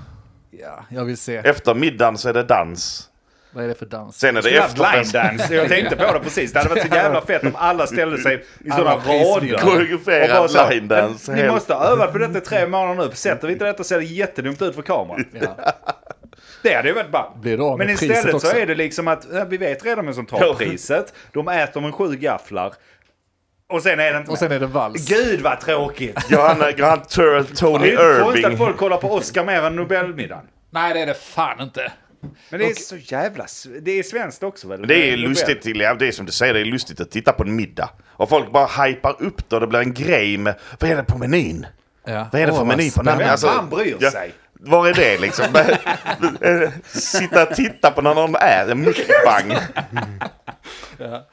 A: Ja, jag vill se.
D: Efter middagen så är det dans.
A: Vad är det för dans?
D: Sen är det
B: Jävla blind
D: efterfest.
B: dance. Jag tänkte på det precis. Det hade varit så jävla fett om alla ställde sig i sådana
A: Alla prisvinnare.
B: rader.
D: Koreograferad
B: Och bara så här,
D: blind dance.
B: Ni
D: Helt-
B: måste ha övat på detta i tre månader nu. Sätter vi inte detta ser det jättedumt ut för kameran. Det hade ju varit ball.
A: Blir du av med
B: Men
A: priset
B: istället så
A: också?
B: är det liksom att ja, vi vet redan vem som tar priset. De äter med sju gafflar. Och sen är det inte
A: Och sen
B: mer.
A: är det vals.
B: Gud vad tråkigt!
D: Johanna Grant Turrell, Tony
B: Det är inte konstigt att
D: Irving.
B: folk kollar på Oscar mer än Nobelmiddagen.
A: Nej, det är det fan inte.
B: Men det är så jävla... sv- Det är svenskt också väl?
D: Det är lustigt, till- ja, det är som du säger, det är lustigt att titta på en middag. Och folk bara hypar upp det och det blir en grej med, vad är det på menyn?
A: Ja.
D: Vad är det
A: Åh,
D: för
A: vad
D: meny på den?
B: Vem
D: Alltså,
B: fan bryr
D: ja,
B: sig?
D: Var är det liksom? eh, Sitta och titta på när någon är mukbang.
A: Ja.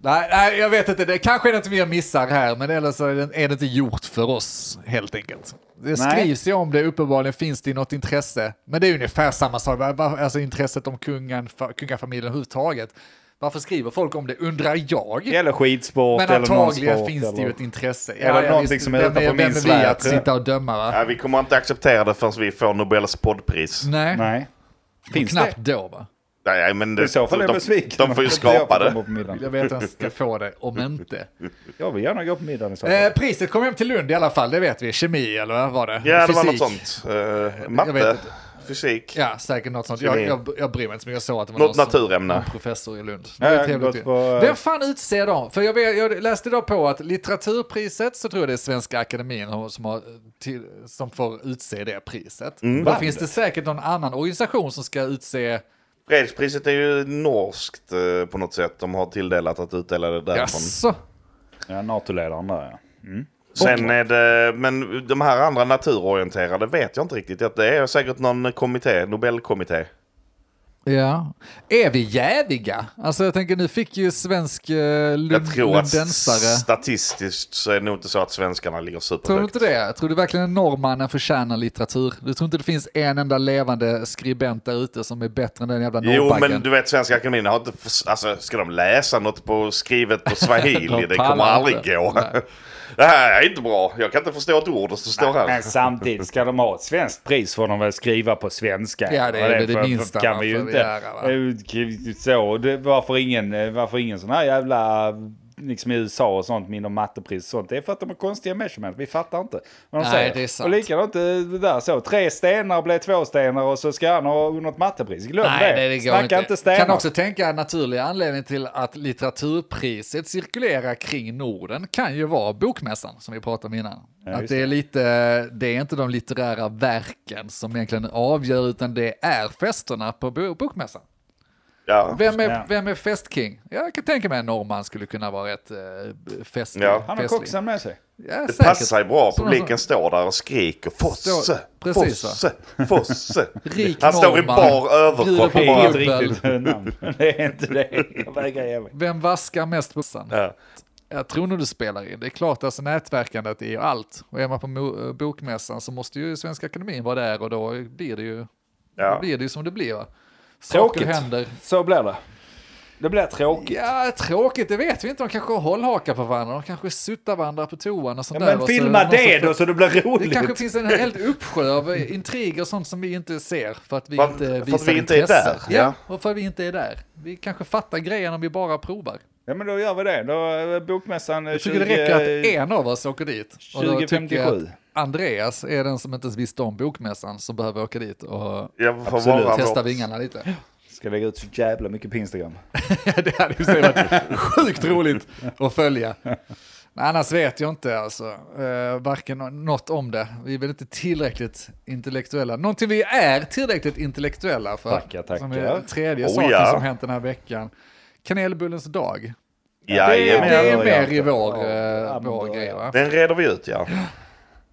A: Nej, nej, jag vet inte. Det kanske är något vi missar här, men eller så är det, är det inte gjort för oss helt enkelt. Det skrivs ju om det, uppenbarligen finns det ju något intresse. Men det är ungefär samma sak, va- va- alltså intresset om kungen, fa- kungafamiljen överhuvudtaget. Varför skriver folk om det, undrar jag.
B: Eller skidsport
A: men
B: eller någon
A: antagligen
B: sport.
A: finns det ju
B: eller...
A: ett intresse.
B: Eller någonting som är
A: vem
B: utanför min
A: vem är vi
B: sfär,
A: att
B: tror jag.
A: sitta och döma? Va?
D: Nej, vi kommer inte acceptera det förrän vi får Nobels poddpris.
A: Nej,
B: Nej. Finns
A: knappt då. Va?
D: Nej, men det,
B: I så fall är jag
D: de,
B: besviken.
D: de får ju
B: Jag funderar på
D: skapa
B: att
D: det.
B: komma på middagen.
A: Jag vet att jag ska få det, om inte.
B: Jag vill gärna gå på middagen i så fall.
A: Eh, priset kom hem till Lund i alla fall, det vet vi. Kemi eller vad var det?
D: Ja, det var något
A: Fysik.
D: sånt. Eh,
A: vet
D: matte,
A: inte.
D: fysik,
A: Ja, säkert något sånt. Jag,
D: Kemi.
A: jag, jag bryr mig inte så mycket. Jag såg att det var
D: något
B: alltså.
A: någon som-
D: naturämne.
A: någon professor i Lund. Det
B: Ja,
A: är
B: jag
A: trevligt
B: gått
A: ju.
B: på- eh,
A: Vem fan utser dem? För jag, vet, jag läste idag på att litteraturpriset så tror jag det är Svenska Akademin har- som, har, till, som får utse det priset.
B: Mm.
A: Då finns det säkert någon annan organisation som ska utse...
D: Fredspriset är ju norskt eh, på något sätt. De har tilldelat att utdela det därifrån.
A: Jaså?
B: Ja, NATO-ledaren där ja.
D: Sen är det, men de här andra naturorienterade vet jag inte riktigt. Att Det är säkert någon kommitté, Nobelkommitté.
A: Ja. Är vi jäviga? Alltså jag tänker nu fick ju svensk eh, lund,
D: Jag tror att
A: lundensare...
D: statistiskt så är det nog inte så att svenskarna ligger
A: Tror du
D: superhögt.
A: inte det? Tror du verkligen att norrmannen förtjänar litteratur? Du tror inte det finns en enda levande skribent där ute som är bättre än den jävla
D: Jo, men
A: norrbaggen?
D: du vet Svenska Akademien har inte... förs- Alltså, ska de läsa något på skrivet på
A: De
D: swahili? det kommer
A: pallar
D: aldrig
A: inte.
D: gå.
A: Nej.
D: det här är inte bra. Jag kan inte förstå ett ord som står här.
B: Men samtidigt ska de ha ett svenskt pris får de väl skriva på svenska.
A: Ja, det är
B: Och
A: väl det
B: för- för-
A: minsta
B: kan
A: man
B: vi ju
A: får
B: inte.
A: göra, va?
B: Det är ju Så, det, varför, ingen, eh, varför ingen sån här jävla... Liksom i USA och sånt, mindre mattepris och sånt. Det är för att de har konstiga measurement. Vi fattar inte vad de
A: Nej,
B: säger.
A: det är sant.
B: Och likadant eh, det där så. Tre stenar blev två stenar och så ska han ha något mattepris. Glöm
A: Nej,
B: det.
A: nej, det går
B: Snacka inte, stenar.
A: Kan också tänka en naturlig anledning till att litteraturpriset cirkulerar kring Norden kan ju vara bokmässan som vi pratade om innan. att
B: just
A: det är lite, det är inte de litterära verken som egentligen avgör utan det är festerna på bo- bokmässan.
D: Ja.
A: Vem är,
B: Ja.
A: vem är festking? Jag kan tänka mig en norrman skulle kunna vara rätt eh, fest,
D: Ja.
B: Han har
A: festlig.
B: koxen med sig.
A: Ja,
D: Det
A: säkert.
D: passar sig bra.
A: Sådana som-
D: Publiken står där och skriker Fosse,
A: Står- precis, va?
D: Fosse, Fosse.
A: Rik
D: Han står i
A: norrman.
D: bar
A: Bjuder
D: överkropp
A: på
D: och
B: Det är
D: bara...
B: inte riktigt namn. Det är inte det. Jag vägrar ge mig.
A: Vem vaskar mest på sen?
D: Ja.
A: Jag tror nog du spelar in. Det är klart, alltså nätverkandet är ju allt. Och är man på mo- eh, bokmässan så måste ju Svenska Akademin vara där och då blir det ju,
D: Ja.
A: då blir det ju som det blir. Va? Saker
B: Tråkigt.
A: händer.
B: Så blir det. Det blir tråkigt.
A: Ja, tråkigt, det vet vi inte. De kanske har hållhakar på varandra, de kanske suttar varandra på toan och sånt där.
B: Men
A: och så
B: filma
A: någon som
B: det
A: får-
B: då så det blir
A: Det
B: roligt.
A: kanske finns en helt uppsjö av intriger och sånt som vi inte ser för att vi
D: För att-
A: inte
D: för att
A: visar
D: vi inte är
A: intresse.
D: där,
A: Ja, och för att vi inte är där. Vi kanske fattar grejen om vi bara provar.
B: Ja men då gör vi det. Då är bokmässan eh,
A: Jag tycker det räcker att en av oss åker dit. Och då tycker jag
B: 2057.
A: att Andreas är den som inte ens visste om bokmässan som behöver åka dit och
D: Jag får
B: Absolut.
D: vara
A: testa
D: vår-
A: vingarna lite.
B: Ska lägga ut så jävla mycket på Instagram.
A: det hade ju så varit sjukt roligt att följa. Men annars vet jag inte alltså, eh, varken nå- något om det. Vi är väl inte tillräckligt intellektuella. Någonting vi är tillräckligt intellektuella för.
B: Tackar, tackar.
A: Som är den tredje
D: Oh,
A: saken
D: ja.
A: som hänt den här veckan. Kanelbullens dag.
D: Jajamän.
A: det är
B: ja,
A: mer
B: ja.
A: i vår,
B: Ja,
A: eh,
B: ja, men
A: vår
B: då,
A: grej
B: ja.
A: va?
D: Den reder vi ut, ja.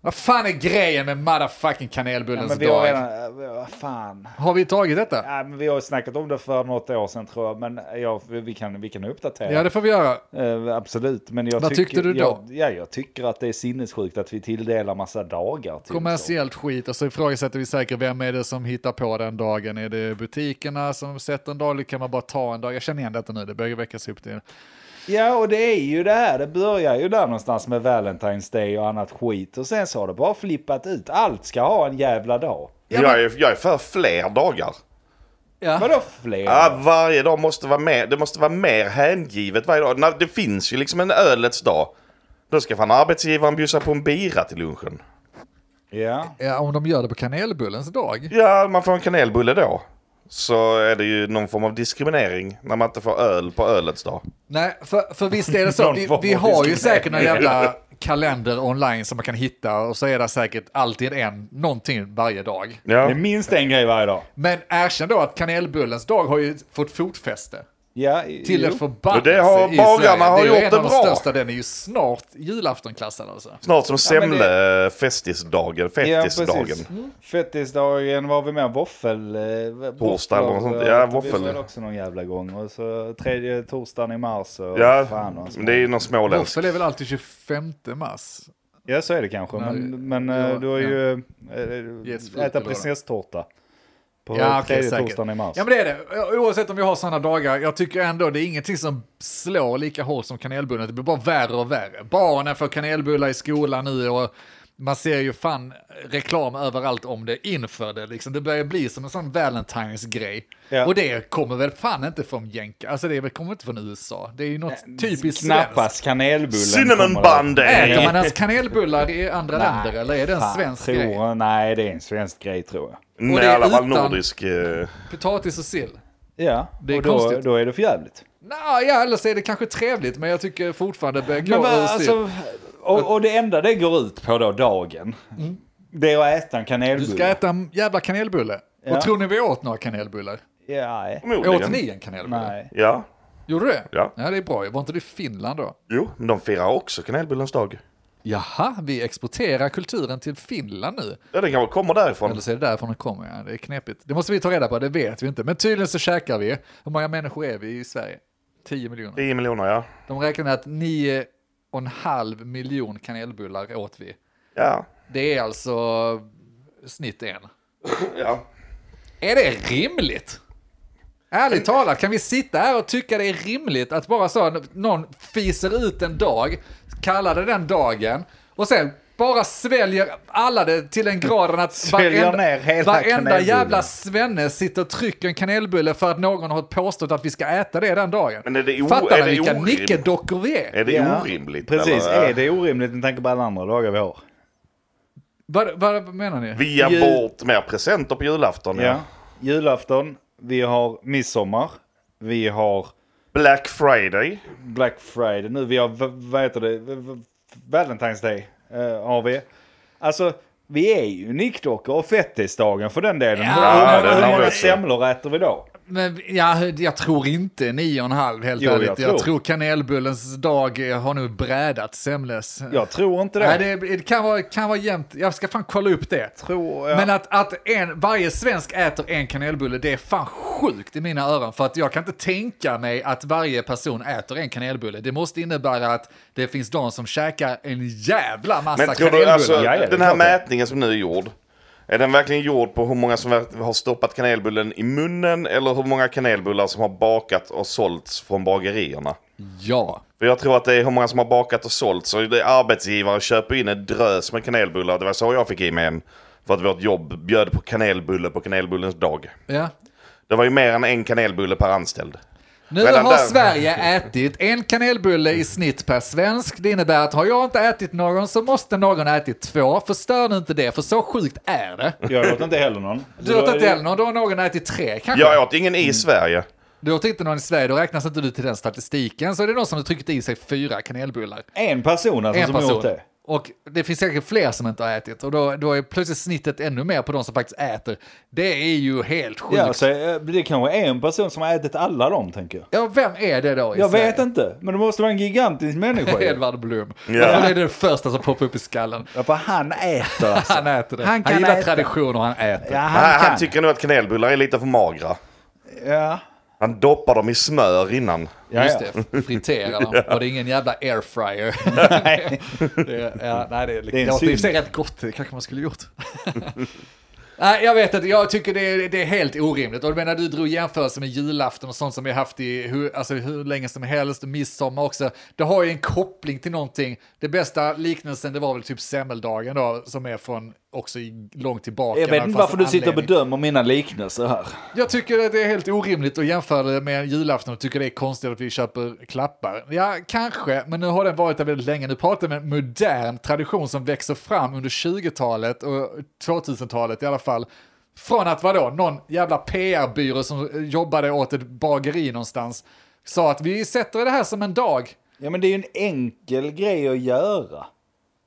A: Vad fan är grejen med motherfucking kanelbullens
B: men vi
A: dag?
B: har redan... Vad fan.
A: Har vi tagit detta?
B: Ja, men vi har ju snackat om det för något år sedan tror jag. Men ja, vi- vi, kan, vi kan uppdatera.
A: Ja, det får vi göra.
B: Eh, absolut. Men jag
A: Vad
B: tycker,
A: tyckte du då?
B: Jag, ja, jag tycker att det är sinnessjukt att vi tilldelar massa dagar. Till så.
A: Kommersiellt skit och så ifrågasätter vi säkert vem är det som hittar på den dagen. Är det butikerna som sätter en dag eller kan man bara ta en dag? Jag känner igen detta nu, det börjar väckas upp till.
B: Ja, och det är ju det här. Det börjar ju där någonstans med Valentine's Day och annat skit. Och sen så har det bara flippat ut. Allt ska ha en jävla dag.
D: Jag är, jag är för fler dagar.
A: Ja.
B: Vadå fler?
D: Ja, varje dag måste vara mer, det måste vara mer hängivet varje dag. När, det finns ju liksom en ölets dag. Då ska fan arbetsgivaren bjussa på en bira till lunchen.
B: Ja.
A: ja, om de gör det på kanelbullens dag.
D: Ja, man får en kanelbulle då. Så är det ju någon form av diskriminering när man inte får öl på ölets dag.
A: Nej, för, för visst är det så. Vi, vi har ju säkert någon jävla kalender online som man kan hitta och så är det säkert alltid en, någonting varje dag.
B: Det
D: Ja,
B: är minst en grej varje dag.
A: Men erkänn då att kanelbullens dag har ju fått fotfäste.
B: Ja,
A: Till en
B: jo.
A: förbannelse
D: Och det har-
A: i
D: bagarna
A: Sverige.
D: har
A: det är ju
D: gjort
A: en
D: det
A: av de
D: bra.
A: största, den är ju snart julaftonklassad alltså.
D: snart som
B: Ja, men det-
D: semlefestisdagen,
B: Ja,
D: fettisdagen.
B: precis. Mm. Fettisdagen var vi med våffel... eh,
D: Torsdag eller något sånt.
B: våfflor.
D: Ja,
B: Vi
D: våffel.
B: var också någon jävla gång. Och så tredje torsdagen i mars. Och
D: Ja,
B: fan, och så.
D: men det är ju någon småländsk.
A: Våffel är väl alltid 25 mars?
B: ja, så är det kanske. Men, men eh,
A: ja,
B: du har ju...
A: Getsfrut eller
B: Ja. Äta
A: vad det är.
B: prinsesstårta. På
A: Ja, okej,
B: tredje
A: säkert.
B: torsdagen i mars.
A: Ja men det är det. Oavsett om vi har sådana dagar, jag tycker ändå det är ingenting som slår lika hårt som kanelbullarna. Det blir bara värre och värre. Barnen får kanelbullar i skolan nu och man ser ju fan reklam överallt om det inför det. Liksom. Det börjar bli som en sån Valentine's-grej.
B: Ja.
A: Och det kommer väl fan inte från jänka, alltså det är väl- kommer inte från USA. Det är ju något typiskt svenskt.
B: Eh, Knappast kanelbullen.
D: Cinnamon
B: kommer där.
D: bun day!
A: Äter man ens kanelbullar i andra länder eller är det en
B: Fan,
A: svensk
B: tror,
A: grej?
B: Nej, det är en svensk grej tror jag.
A: Och
D: Nej,
A: det
D: i
A: är
D: alla fall
A: utan-
D: nordisk. eh,
A: Potatis och sill?
B: Ja,
A: Det är
B: och då,
A: konstigt.
B: då är det för jävligt.
A: Nå, ja, eller så är det kanske trevligt, men jag tycker fortfarande det börjar gå
B: Men vad,
A: ur styr.
B: alltså, och, och det enda det går ut på då, dagen,
A: Mm.
B: det är att äta en
A: Du
B: kanelbulle.
A: ska äta en jävla kanelbulle.
B: Ja.
A: Och tror ni vi åt några kanelbullar?
B: Ja, nej.
A: Åt
D: Förmodligen.
A: ni en kanelbulle?
B: nej.
D: Ja.
A: Gjorde du det?
D: Ja.
A: ja, det är bra. Var inte du i Finland då?
D: Jo, men de firar också kanelbullens dag.
A: Jaha, vi exporterar kulturen till Finland nu.
D: Ja, den kanske kommer därifrån.
A: Eller så är det därifrån den kommer, ja. Det är knepigt. Det måste vi ta reda på, det vet vi inte. Men tydligen så käkar vi. Hur många människor är vi i Sverige? 10 miljoner.
D: 10 miljoner, ja.
A: De räknar med att 9,5 miljon kanelbullar åt vi.
D: Ja.
A: Det är alltså snitt en.
D: ja.
A: Är det rimligt? Ärligt talat, kan vi sitta här och tycka det är rimligt att bara så någon fiser ut en dag, kallar det den dagen och sen bara sväljer alla det till en grad att
B: Sväljer ner hela
A: varenda
B: kanelbullen.
A: jävla svenne sitter och trycker en kanelbulle för att någon har påstått att vi ska äta det den dagen.
D: Men är det o-
A: Fattar
D: är
A: ni
D: det
A: vilka
D: orimligt?
A: nickedockor vi är?
D: Är det
B: Ja.
D: orimligt?
B: Precis,
D: eller?
B: är det orimligt med tanke på alla andra dagar vi har?
A: Vad, vad menar ni?
D: Vi ger
B: Ju-
D: bort mer presenter på julafton. Ja.
B: Ja. Julafton, vi har midsommar, vi har
D: Black Friday.
B: Black Friday nu, vi har, v- vad heter det, V- v- Valentine's Day eh, har vi. Alltså, vi är ju nickdockor och fettisdagen för den delen.
A: Ja,
B: hur,
D: den
B: hur, hur
D: har vi
B: många
D: också.
B: semlor äter vi då?
A: Men ja, jag tror inte nio och en halv helt
B: Jo, jag
A: ärligt. Jag tror.
B: tror.
A: kanelbullens dag har nu brädat Semles.
B: Jag tror inte det.
A: Nej, det, det kan vara, kan vara jämnt. Jag ska fan kolla upp det.
B: Tror jag.
A: Men att, att en, varje svensk äter en kanelbulle, det är fan sjukt i mina öron. För att jag kan inte tänka mig att varje person äter en kanelbulle. Det måste innebära att det finns de som käkar en jävla massa
D: Men tror
A: kanelbullar.
D: du alltså,
B: Ja, ja, det är
D: den här
B: klart det.
D: mätningen som nu är gjord. Är den verkligen gjord på hur många som har stoppat kanelbullen i munnen eller hur många kanelbullar som har bakat och sålts från bagerierna?
A: Ja.
D: För jag tror att det är hur många som har bakat och sålt. Så det är arbetsgivare köper in en drös med kanelbullar. Det var så jag fick i mig en. För att vårt jobb bjöd på kanelbulle på kanelbullens dag.
A: ja.
D: Det var ju mer än en kanelbulle per anställd.
A: Nu
D: Men den
A: har
D: där-
A: Sverige ätit en kanelbulle i snitt per svensk. Det innebär att har jag inte ätit någon så måste någon ha ätit två. Förstör nu inte det, för så sjukt är det.
B: Jag åt inte heller någon.
A: Du åt inte heller någon, då har någon ätit tre kanske.
D: Jag åt ingen i Sverige.
A: Du åt inte någon i Sverige, då räknas inte du till den statistiken. Så är det någon som har tryckt i sig fyra kanelbullar.
B: En person alltså
A: En
B: som gjort
A: person.
B: det.
A: Och det finns säkert fler som inte har ätit. Och då, då är plötsligt snittet ännu mer på de som faktiskt äter. Det är ju helt sjukt.
B: Ja,
A: Ja,
B: så, eh, det kanske är en person som har ätit alla dem, tänker jag.
A: vem är det då i
B: Jag
A: Sverige?
B: vet inte, men det måste vara en gigantisk människa. ju.
A: Edvard Blom.
D: Ja.
A: Alltså, det är det första som poppar upp i skallen.
B: ja, för han äter alltså.
A: Han äter det. Han,
B: Han kan
A: gillar
B: äta.
A: traditioner, han äter.
B: Ja, han,
D: Han,
B: kan.
D: han tycker nog att kanelbullar är lite för magra.
B: Ja.
D: Han doppar dem i smör innan.
B: Ja,
A: Just
B: ja.
A: det, fritera dem. Och det är ingen jävla airfryer. det, är- ja, nej, det, är,
B: Det är en
A: låter i och för
B: synd.
A: sig rätt gott, det kanske man skulle gjort. nej, jag vet inte, jag tycker det är, det är helt orimligt. Och jag menar, du drog jämförelser med julafton och sånt som vi haft i hur, alltså, hur länge som helst, och midsommar också. Det har ju en koppling till någonting. Det bästa liknelsen, det var väl typ semmeldagen då, som är från också i- långt tillbaka.
B: Jag
A: när
B: vet
A: det
B: inte
A: fanns
B: varför
A: en
B: du sitter och
A: anledning.
B: bedömer mina liknelser här.
A: Jag tycker att det är helt orimligt att jämföra det med julafton och tycker det är konstigt att vi köper klappar. Ja, kanske, men nu har den varit där väldigt länge. Nu pratar vi om en modern tradition som växer fram under 20-talet och 2000-talet i alla fall. Från att vadå, någon jävla PR-byrå som eh, jobbade åt ett bageri någonstans sa att vi sätter det här som en dag.
B: Ja, men det är ju en enkel grej att göra.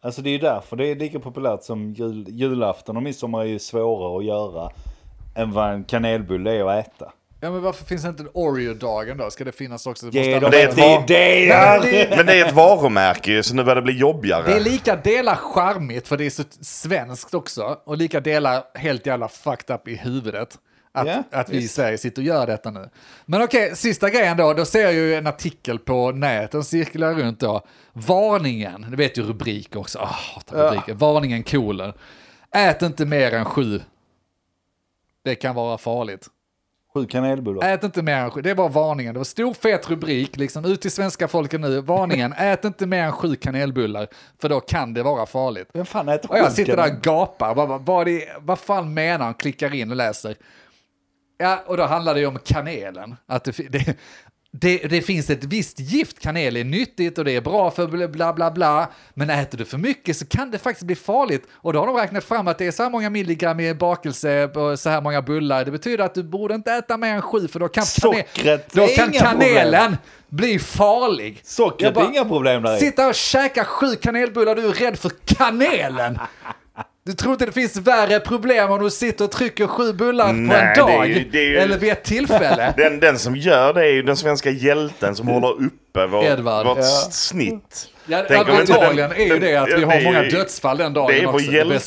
B: Alltså det är ju därför det är lika populärt som jul, julafton och midsommar är ju svårare att göra än vad en kanelbulle är att äta.
A: Ja, men varför finns det inte en Oreo-dagen då? Ska det finnas också? Måste
B: Ge
A: alla-
B: dem
D: det är
B: ett
D: ett va-
B: idé! Det är
D: Men det är ett varumärke ju, så nu börjar det bli
A: Det är
D: jobbigare.
A: lika delar charmigt, för det är så svenskt också, och lika delar helt jävla fucked up i huvudet. Att,
B: Ja,
A: att vi i Sverige sitter och gör detta nu. Men okej, sista grejen då. Då ser jag ju en artikel på nätet, den cirkular runt då. Varningen, du vet ju rubrik också. Ah, hatar rubriker. Varningen kolon. Ät inte mer än sju. Det kan vara farligt.
B: Sju kanelbullar.
A: Ät inte mer än sju. Det var varningen. Det var stor fet rubrik, liksom ut till svenska folket nu. Varningen, ät inte mer än sju kanelbullar, för då kan det vara farligt.
B: Vem fan äter
A: Och jag
B: sju
A: sitter där
B: kanelbullar?
A: och gapar. Vad, vad, vad, det, vad fan menar han? Klickar in och läser. Ja, och då handlar det ju om kanelen. Att det, fi- det, det, det finns ett visst gift. Kanel är nyttigt och det är bra för bla, bla bla bla. Men äter du för mycket så kan det faktiskt bli farligt. Och då har de räknat fram att det är så här många milligram i bakelse och så här många bullar. Det betyder att du borde inte äta mer än sju för då kan, kanel,
B: Sockret, det
A: då
B: är
A: kan
B: inga problem.
A: kanelen bli farlig. Jag
B: Sockret
A: bara-
B: är inga problem där i.
A: Sitta och käka sju kanelbullar, du är rädd för kanelen. Du tror inte det finns värre problem om du sitter och trycker sju bullar på en
D: Nej, det är
A: dag
D: ju- det är ju-
A: eller vid ett tillfälle.
D: Den, den som gör det är ju den svenska hjälten som håller uppe vår,
A: Edvard.
D: vårt
A: Ja.
D: s- snitt.
A: Ja,
D: Tänk om inte
A: antagligen
D: den-
A: är ju det att
D: den-
A: vi
D: det
A: har
D: är
A: många
D: ju-
A: dödsfall den dagen
D: det är vår
A: också.
D: hjälte.
A: Det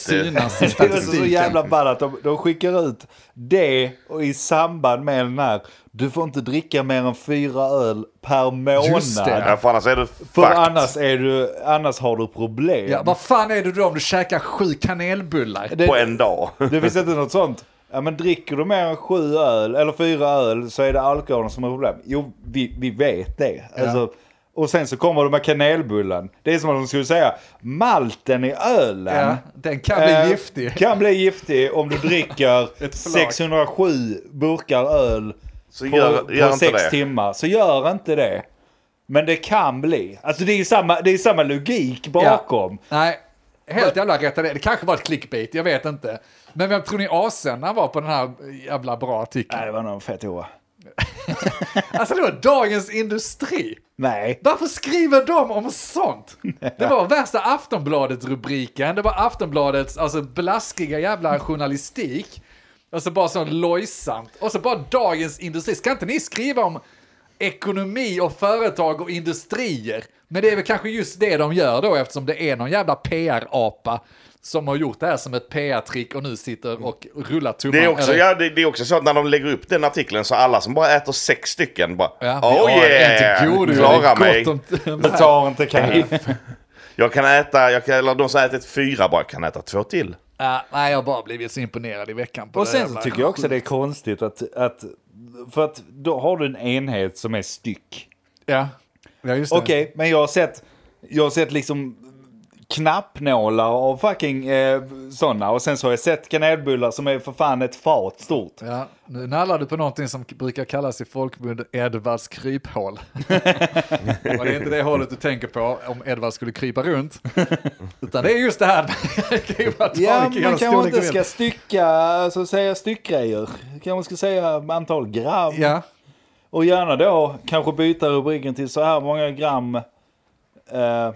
A: synas i
B: Det är så
A: statistiken.
B: jävla ball att de, de skickar ut det och i samband med den här. Du får inte dricka mer än fyra öl per
A: Just det,
B: månad.
D: Ja, för annars är det
B: För
D: fucked.
B: annars, är du, annars har du problem.
A: Ja, vad fan är det då om du käkar sju kanelbullar?
B: det,
D: På en dag.
B: det finns inte något sånt. Ja, men dricker du mer än sju öl eller fyra öl så är det alkoholen som är problem. Jo, vi, vi vet det. Alltså, och sen så kommer de med kanelbullen. Det är som att de skulle säga malten i ölen.
A: Ja, den kan bli
B: Eh,
A: giftig.
B: Kan bli giftig om du dricker 607 burkar öl
D: Så
B: på,
D: gör- gör
B: på
D: inte
B: sex
D: det.
B: timmar. Så gör inte det. Men det kan bli. Alltså det är samma, det är samma logik bakom.
A: Ja. Nej, helt jävla rätt är det. Det kanske var ett clickbait, jag vet inte. Men vem tror ni avsändaren var på den här jävla bra artikeln?
B: Nej, det var någon fet hoa.
A: Alltså det var Dagens Industri.
B: Nej.
A: Varför skriver de om sånt? Det var värsta Aftonbladet-rubriken, det var Aftonbladets alltså, blaskiga jävla journalistik. Alltså bara sån lojsamt. Och så bara Dagens Industri. Ska inte ni skriva om ekonomi och företag och industrier? Men det är väl kanske just det de gör då eftersom det är någon jävla PR-apa som har gjort det här som ett PR-trick och nu sitter och rullar tummarna.
D: Det är, också,
A: Eller-
D: ja, det, det är också så att när de lägger upp den artikeln så alla som bara äter sex stycken bara
A: Ja,
D: oh
A: vi har
D: yeah,
A: en till godo, det
D: klara
A: är gott
D: mig.
A: om-
B: Du tar inte kaffe.
D: Jag kan äta, jag kan, eller de som har ätit fyra bara kan äta två till.
A: Ja, nej, jag har bara blivit så imponerad i veckan. På
B: Och
A: det
B: sen så
A: jävla
B: tycker jag också det är konstigt att, att... För att då har du en enhet som är styck.
A: Ja, ja just det.
B: Okej, men jag har sett, jag har sett liksom knappnålar och fucking eh, sådana. Och sen så har jag sett kanelbullar som är för fan ett fat stort.
A: Ja, nu nallar du på någonting som k- brukar kallas i folkmund Edvards kryphål. Och det är inte det hålet du tänker på om Edvard skulle krypa runt. Utan det är just det här med att krypa tag i
B: Ja,
A: hela
B: man kanske
A: storleken
B: inte
A: igen.
B: ska stycka, så att säga styckgrejer. Kanske man ska säga antal gram.
A: Ja,
B: Och gärna då kanske byta rubriken till så här många gram eh,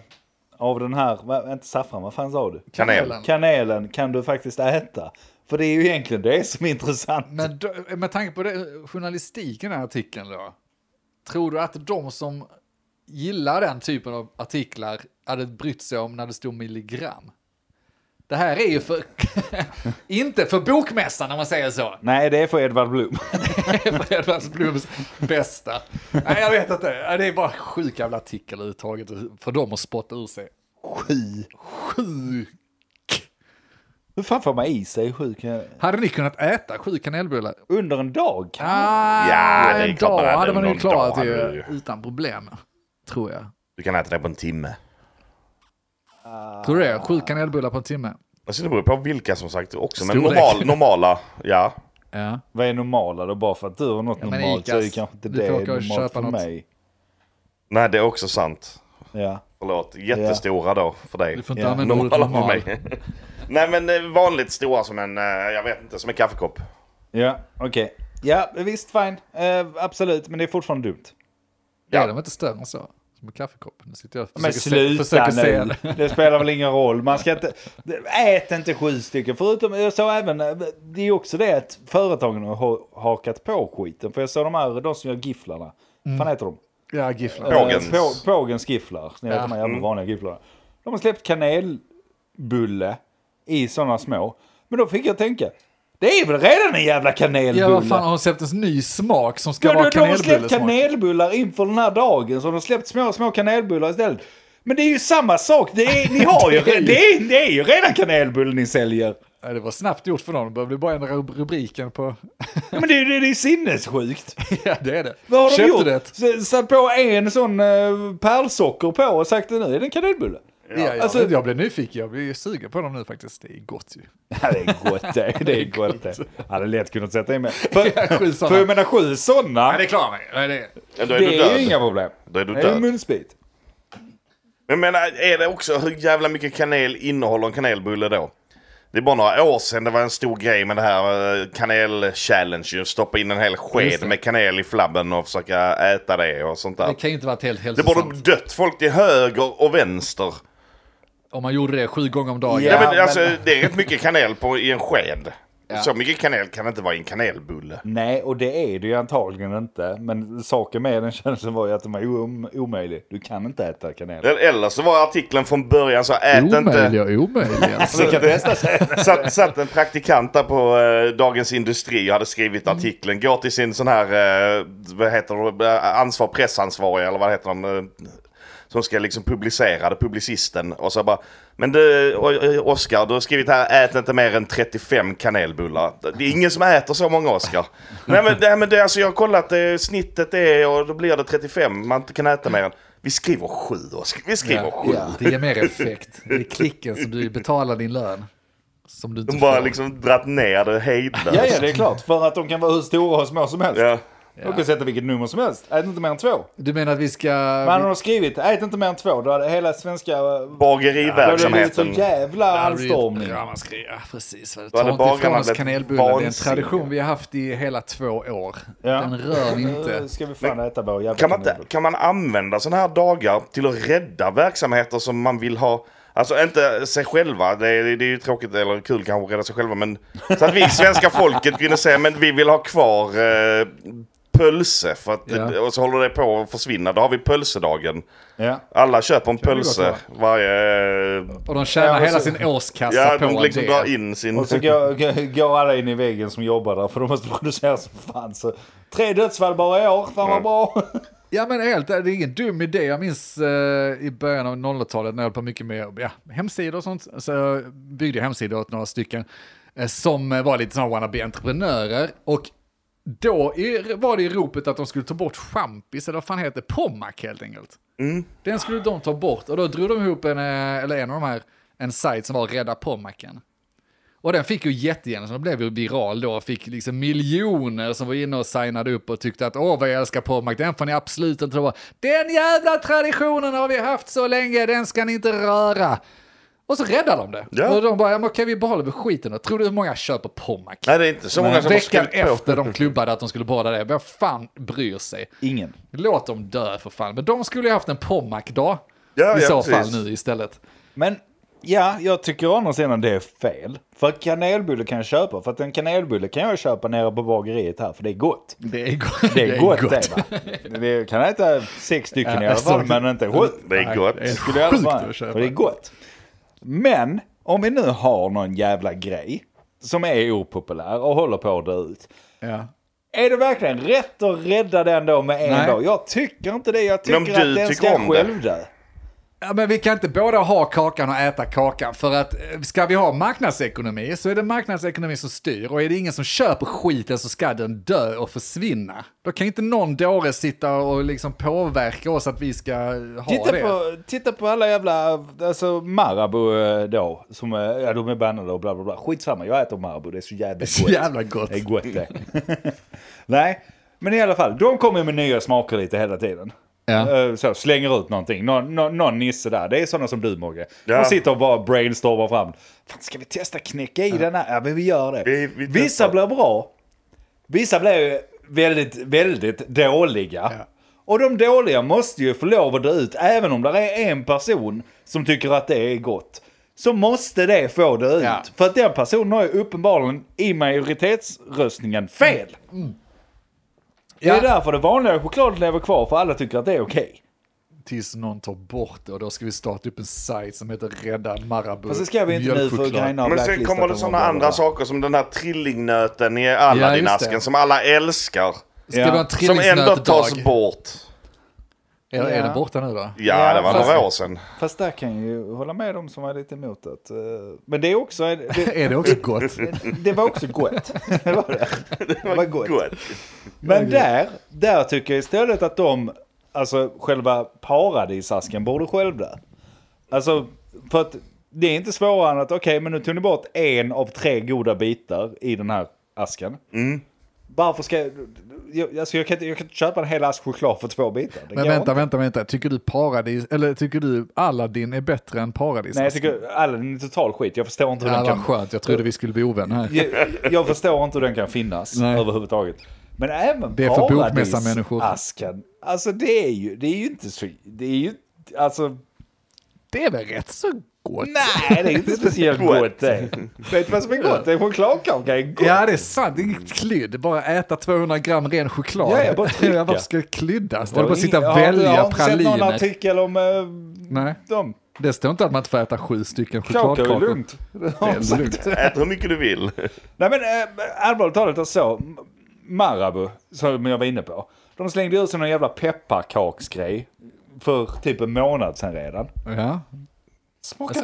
B: av den här, va, inte saffran, vad fan sa du?
D: Kanel.
B: Kanelen kan du faktiskt äta. För det är ju egentligen det som är intressant.
A: Men då, med tanke på det, journalistiken i den här artikeln då. Tror du att de som gillar den typen av artiklar hade brytt sig om när det stod milligram? Det här är ju för, inte för bokmässan om man säger så.
B: Nej, det är för Edvard Blom.
A: Edvards Bloms bästa. Nej, jag vet inte. Ja, Det är bara sjuk jävla artikel överhuvudtaget för dem att spotta ur sig.
B: Sju.
A: Sjuk.
B: Hur fan får man i sig sju kan-
A: Hade ni kunnat äta sju kanelbullar?
B: Under en dag?
A: Ah,
D: Ja, det är
A: en
D: klart man
A: dag
D: hade.
A: hade man ju
D: Någon
A: klarat
D: dag
A: det
D: hade
A: ju
D: du
A: utan problem. Tror jag.
D: Du kan äta det på en timme. Ah.
A: Tror du det? Sju kanelbullar på en timme.
D: Alltså det beror på vilka som sagt också. Men
A: Storlek.
D: normal, normala, ja.
A: Ja.
B: Vad är normala då? Bara för att du har något
A: Ja, men
B: normalt så är det
A: Icas.
B: kanske inte
A: Du
B: det
A: får
B: är
A: åka och
B: normalt
A: köpa
B: för
A: något.
B: mig.
D: Nej det är också sant.
B: Ja.
D: Förlåt, jättestora då för dig.
A: Du får inte
B: Ja,
A: använda ordet
D: Normala för
A: normal.
D: mig. Nej men eh, vanligt stora som en, eh, jag vet inte, som en kaffekopp.
B: Ja, okej. Ja, visst, fine. Eh, absolut, men det är fortfarande dumt.
A: Ja.
D: Ja.
A: de är inte större än så. Som en kaffekopp. Nu sitter jag och
B: Men
A: försöker, se,
B: sluta
A: försöker se
B: nu.
A: det.
B: Det spelar väl ingen roll. Man ska inte... Ät inte sju stycken. Förutom, jag såg även... Det är också det att företagen har hakat på skiten. För jag såg de här, de som gör gifflarna. Vad
A: Mm.
B: fan heter de?
A: Ja, gifflar.
D: Ja. Pågens.
B: Eh, På, Pågens Mm. gifflar. Ni vet
A: Äh, Ja.
B: de här jävla vanliga gifflarna. De har släppt kanelbulle i sådana små. Men då fick jag tänka. Det är väl redan en jävla kanelbulle?
A: Ja, vad fan har hon släppt en ny smak som ska
B: Ja,
A: vara
B: de, de har släppt
A: kanelbullesmak?
B: kanelbullar inför den här dagen, så de har släppt små, små kanelbullar istället. Men det är ju samma sak, det är, ni har ju,
A: Det är ju-
B: det, är, det är ju redan kanelbull ni säljer.
A: Ja, det var snabbt gjort för dem. De behövde bara ändra rub- rubriken på...
B: Ja, men det, är- det, är- det är sinnessjukt.
A: ja, det är det.
B: Vad har de
A: Köpte
B: gjort?
A: det?
B: S- Satt på en sån uh, pärlsocker på och sagt nu är det en kanelbulle.
A: Ja, jag,
B: Alltså-
A: jag blev nyfiken. Jag blir sugen på dem nu faktiskt. Det är gott ju.
B: Ja, det är gott det, det är gott det. Hade lätt kunnat sätta in mer. För,
A: Ja, sju såna.
B: för jag menar sju sådana, det,
A: klarar mig. Ja, det...
D: Ja, då är du
B: är
D: död.
B: ju inga problem.
D: Då är du
B: Det är ju
D: död.
B: munsbit.
D: Men menar, är det också, hur jävla mycket kanel innehåller en kanelbulle då? Det är bara några år sedan det var en stor grej med det här eh, kanel-challenge. Stoppa in en hel
A: Just
D: sked
A: det.
D: med kanel i flabben och försöka äta det och sånt där.
A: kan ju inte vara helt
D: Det borde
A: hälsosamt.
D: dött folk till höger och vänster.
A: Om man gjorde det sju gånger om dagen.
B: Ja.
D: Ja, men, alltså,
B: men-
D: Det är rätt mycket kanel på, i en sked. Så mycket kanel kan inte vara i en kanelbulle.
B: Nej, och det är det ju antagligen inte. Men saken med den känslan var ju att den var om, omöjlig. Du kan inte äta kanel.
D: Eller- Eller så var artikeln från början så ät inte... Alltså,
A: Omöjliga, omöjliga.
B: Så det kan testa sig.
D: Satt, satt en praktikant där på eh, Dagens Industri och hade skrivit artikeln. Går till sin sån här, eh, vad heter det, Eh, ansvar, pressansvarig eller vad heter han? eh, Som ska liksom publicera det, publicisten. Och så bara, men du o- o- Oscar, du har skrivit här, ät inte mer än 35 kanelbullar. Det är ingen som äter så många Oscar. nej men, nej, men det, alltså, jag har kollat, eh, snittet är, och då blir det 35, man kan äta mer än. Vi skriver sju Oscar, vi skriver sju.
A: Det ger mer effekt. Det är klicken som du betalar din lön. Som du inte
D: De bara
A: får.
D: liksom dratt ner det hejdlöst.
B: Ja, ja, det är klart. För att de kan vara hur stora och små som helst.
D: Ja.
B: De kan sätta vilket nummer som helst. Ät inte mer än två.
A: Du menar att vi ska...
B: Men hade de skrivit ät inte mer än två, då hade hela svenska... eh, Då hade det blivit så
D: Bageriverksamheten.
B: jävla
A: Ja, det är ju-
B: anstormning.
A: Ja, man ska, ja precis. Va,
D: hade
A: Ta inte ifrån
D: bagarna
A: oss
D: blivit
A: kanelbullar. Det är en
D: vansinniga.
A: tradition vi har haft i hela två år.
B: Ja.
A: Den rör vi inte.
B: Nu Eh, ska vi fan äta vår jävla
D: Kan man, inte,
B: kanelbulle.
D: kan man använda sådana här dagar till att rädda verksamheter som man vill ha? Alltså inte sig själva, det är, det är ju tråkigt eller kul kanske att rädda sig själva, men så att vi svenska folket kunde säga men vi vill ha kvar eh, pölse för att,
A: Ja.
D: och så håller det på att försvinna. Då har vi pölsedagen.
B: Ja.
D: Alla köper en pölse
A: gott
D: varje...
A: Och de tjänar
B: Ja, och
A: hela
B: så-
A: sin årskassa
D: Ja,
A: på
D: de liksom
A: det.
D: drar in sin...
B: Och så går, går- går alla in i väggen som jobbar där för de måste producera som fan. Så tre dödsfall bara i år, fan vad bra.
A: Ja men helt, det är ingen dum idé. Jag minns eh, i början av 00-talet när jag höll på mycket med ja, hemsidor och sånt. Så jag byggde jag hemsidor åt några stycken eh, som eh, var lite sådana wannabe-entreprenörer. Och då i, var det i ropet att de skulle ta bort champis, eller vad fan heter det, Pommac helt enkelt. Mm. Den skulle de ta bort och då drog de ihop en, eh, eller en av de här, en sajt som var Rädda Pommacen. Och den fick ju jättegenomslag, den blev ju viral då, fick liksom miljoner som var inne och signade upp och tyckte att åh vad jag älskar Pommac, den får ni absolut inte röra. Den jävla traditionen har vi haft så länge, den ska ni inte röra. Och så räddar de det.
D: Ja.
A: Och de bara, ja, men okej vi behåller väl skiten då. Tror du hur många köper Pommac?
D: Nej, det är inte så många som har
A: Veckan
D: skrivit på.
A: efter de klubbade att de skulle behålla det, vem fan bryr sig?
B: Ingen.
A: Låt dem dö för fan. Men de skulle ju haft en Pommac-dag
D: Ja,
A: i
D: ja,
A: så
D: precis.
A: fall nu istället.
B: Men ja, jag tycker å andra sidan det är fel. För kanelbulle kan jag köpa. För att en kanelbulle kan jag köpa nere på bageriet här. För det är gott.
A: Det är gott.
B: Det är, gott, det va? Det är- Jag kan äta sex stycken i alla
A: alltså,
B: fall men inte sju.
D: Det är gott.
A: Det är
B: Skulle jag
A: sjukt
B: svara.
A: att köpa.
B: För det är gott. Men om vi nu har någon jävla grej som är opopulär och håller på att dö ut.
A: Ja.
B: Är det verkligen rätt att rädda den då med en
A: Nej.
B: dag? Jag tycker inte det. Jag tycker
D: Men om du
B: att den
D: tycker
B: ska
D: om det?
B: självdö.
A: Ja, men vi kan inte båda ha kakan och äta kakan. För att eh, ska vi ha marknadsekonomi så är det marknadsekonomi som styr. Och är det ingen som köper skiten så ska den dö och försvinna. Då kan inte någon dåre sitta och liksom påverka oss att vi ska ha
B: Titta
A: det.
B: på, titta på alla jävla, alltså Marabou eh, då, som, eh, ja de är bannade och bla bla bla. Skitsamma, jag äter Marabou, det är så
A: Det
B: jävla
A: är
B: gott.
A: så jävla gott.
B: Det är gott det. Nej, men i alla fall, de kommer med nya smaker lite hela tiden.
A: Ja.
B: Eh, Så, slänger ut någonting, någon, någon, någon nisse där. Det är sådana som du Mogge.
D: Ja.
B: De sitter och bara brainstormar fram. Fan, ska vi testa knäcka i den här? Ja, men vi gör det.
D: Vi- vi
B: Vissa
D: testar.
B: blir bra, Vissa blev ju väldigt, väldigt dåliga. Och de dåliga måste ju få lov att dö ut, även om det är en person som tycker att det är gott. Så måste det få dö ut.
A: Ja.
B: För att den personen har ju uppenbarligen i majoritetsröstningen fel.
A: Mm. Ja.
B: Det är därför det vanliga chokladen lever kvar, för alla tycker att det är okej.
A: Tills någon tar bort det och då ska vi starta upp en sajt som heter Rädda Marabou.
B: Fast det ska vi inte nu för
A: mjölkchoklad.
B: Ukraina har
D: Men sen
B: blacklistat
D: kommer det
B: dem och
D: sådana
B: bla, bla, bla.
D: andra saker som den här trillingnöten i Aladdin-asken
A: Ja, just det.
D: som alla älskar.
A: Ska
B: Ja.
A: vi ha en
D: Som ändå
A: trillingsnötdag?
D: tas bort.
A: Eller är
B: Ja.
A: det borta nu då?
D: Ja,
B: Ja,
D: det var
B: fast-
D: några år sedan.
B: Fast där kan jag ju hålla med dem som var lite emot att... eh, men det är också... Det,
A: Är det också gott?
B: det var också gott. det var det. Det var gott.
D: Gott.
B: Men där, där tycker jag istället att de, alltså själva paradisasken borde själv där. Alltså, för att det är inte svårare än att okej, men nu tog ni bort en av tre goda bitar i den här asken. Varför ska jag, jag, alltså jag, kan inte, jag kan inte köpa en hel ask choklad för två bitar. Det
A: Men
B: går
A: vänta,
B: inte.
A: vänta, vänta. Tycker du paradis, eller tycker du Aladdin är bättre än paradis?
B: Nej, jag tycker alla den är total skit. Jag förstår inte hur
A: Ja,
B: den kan...
A: vad skönt. Jag trodde vi skulle bli ovänner här.
B: jag, jag förstår inte hur den kan finnas
A: Nej.
B: överhuvudtaget. Men även
A: Det är för bokmässamänniskor.
B: paradisasken, alltså det är ju, det är ju inte så, det är ju, alltså
A: Det är väl rätt så gott.
B: Nej, det är inte speciellt gott det. Vet du vad som är gott? Det är chokladkaka. är gott.
A: Ja, det är sant. Det är inget klydd. Bara äta 200 gram ren choklad.
B: Ja, ja, bara trycka.
A: Varför ska det klyddas? Det är bara att sitta
B: Har
A: och
B: du- Har
A: välja
B: du sett någon
A: praliner.
B: artikel om eh,
A: Nej,
B: dem?
A: det står inte att man inte får äta sju stycken
B: Klart är
A: chokladkakor.
B: lugnt. Det har de sagt.
D: Ät hur mycket du vill.
B: Nej men eh, allvarligt talat alltså, så, Marabou, som jag var inne på. De slängde ut sig någon jävla pepparkaksgrej för typ en månad sedan redan.
A: Ja.
B: Smakar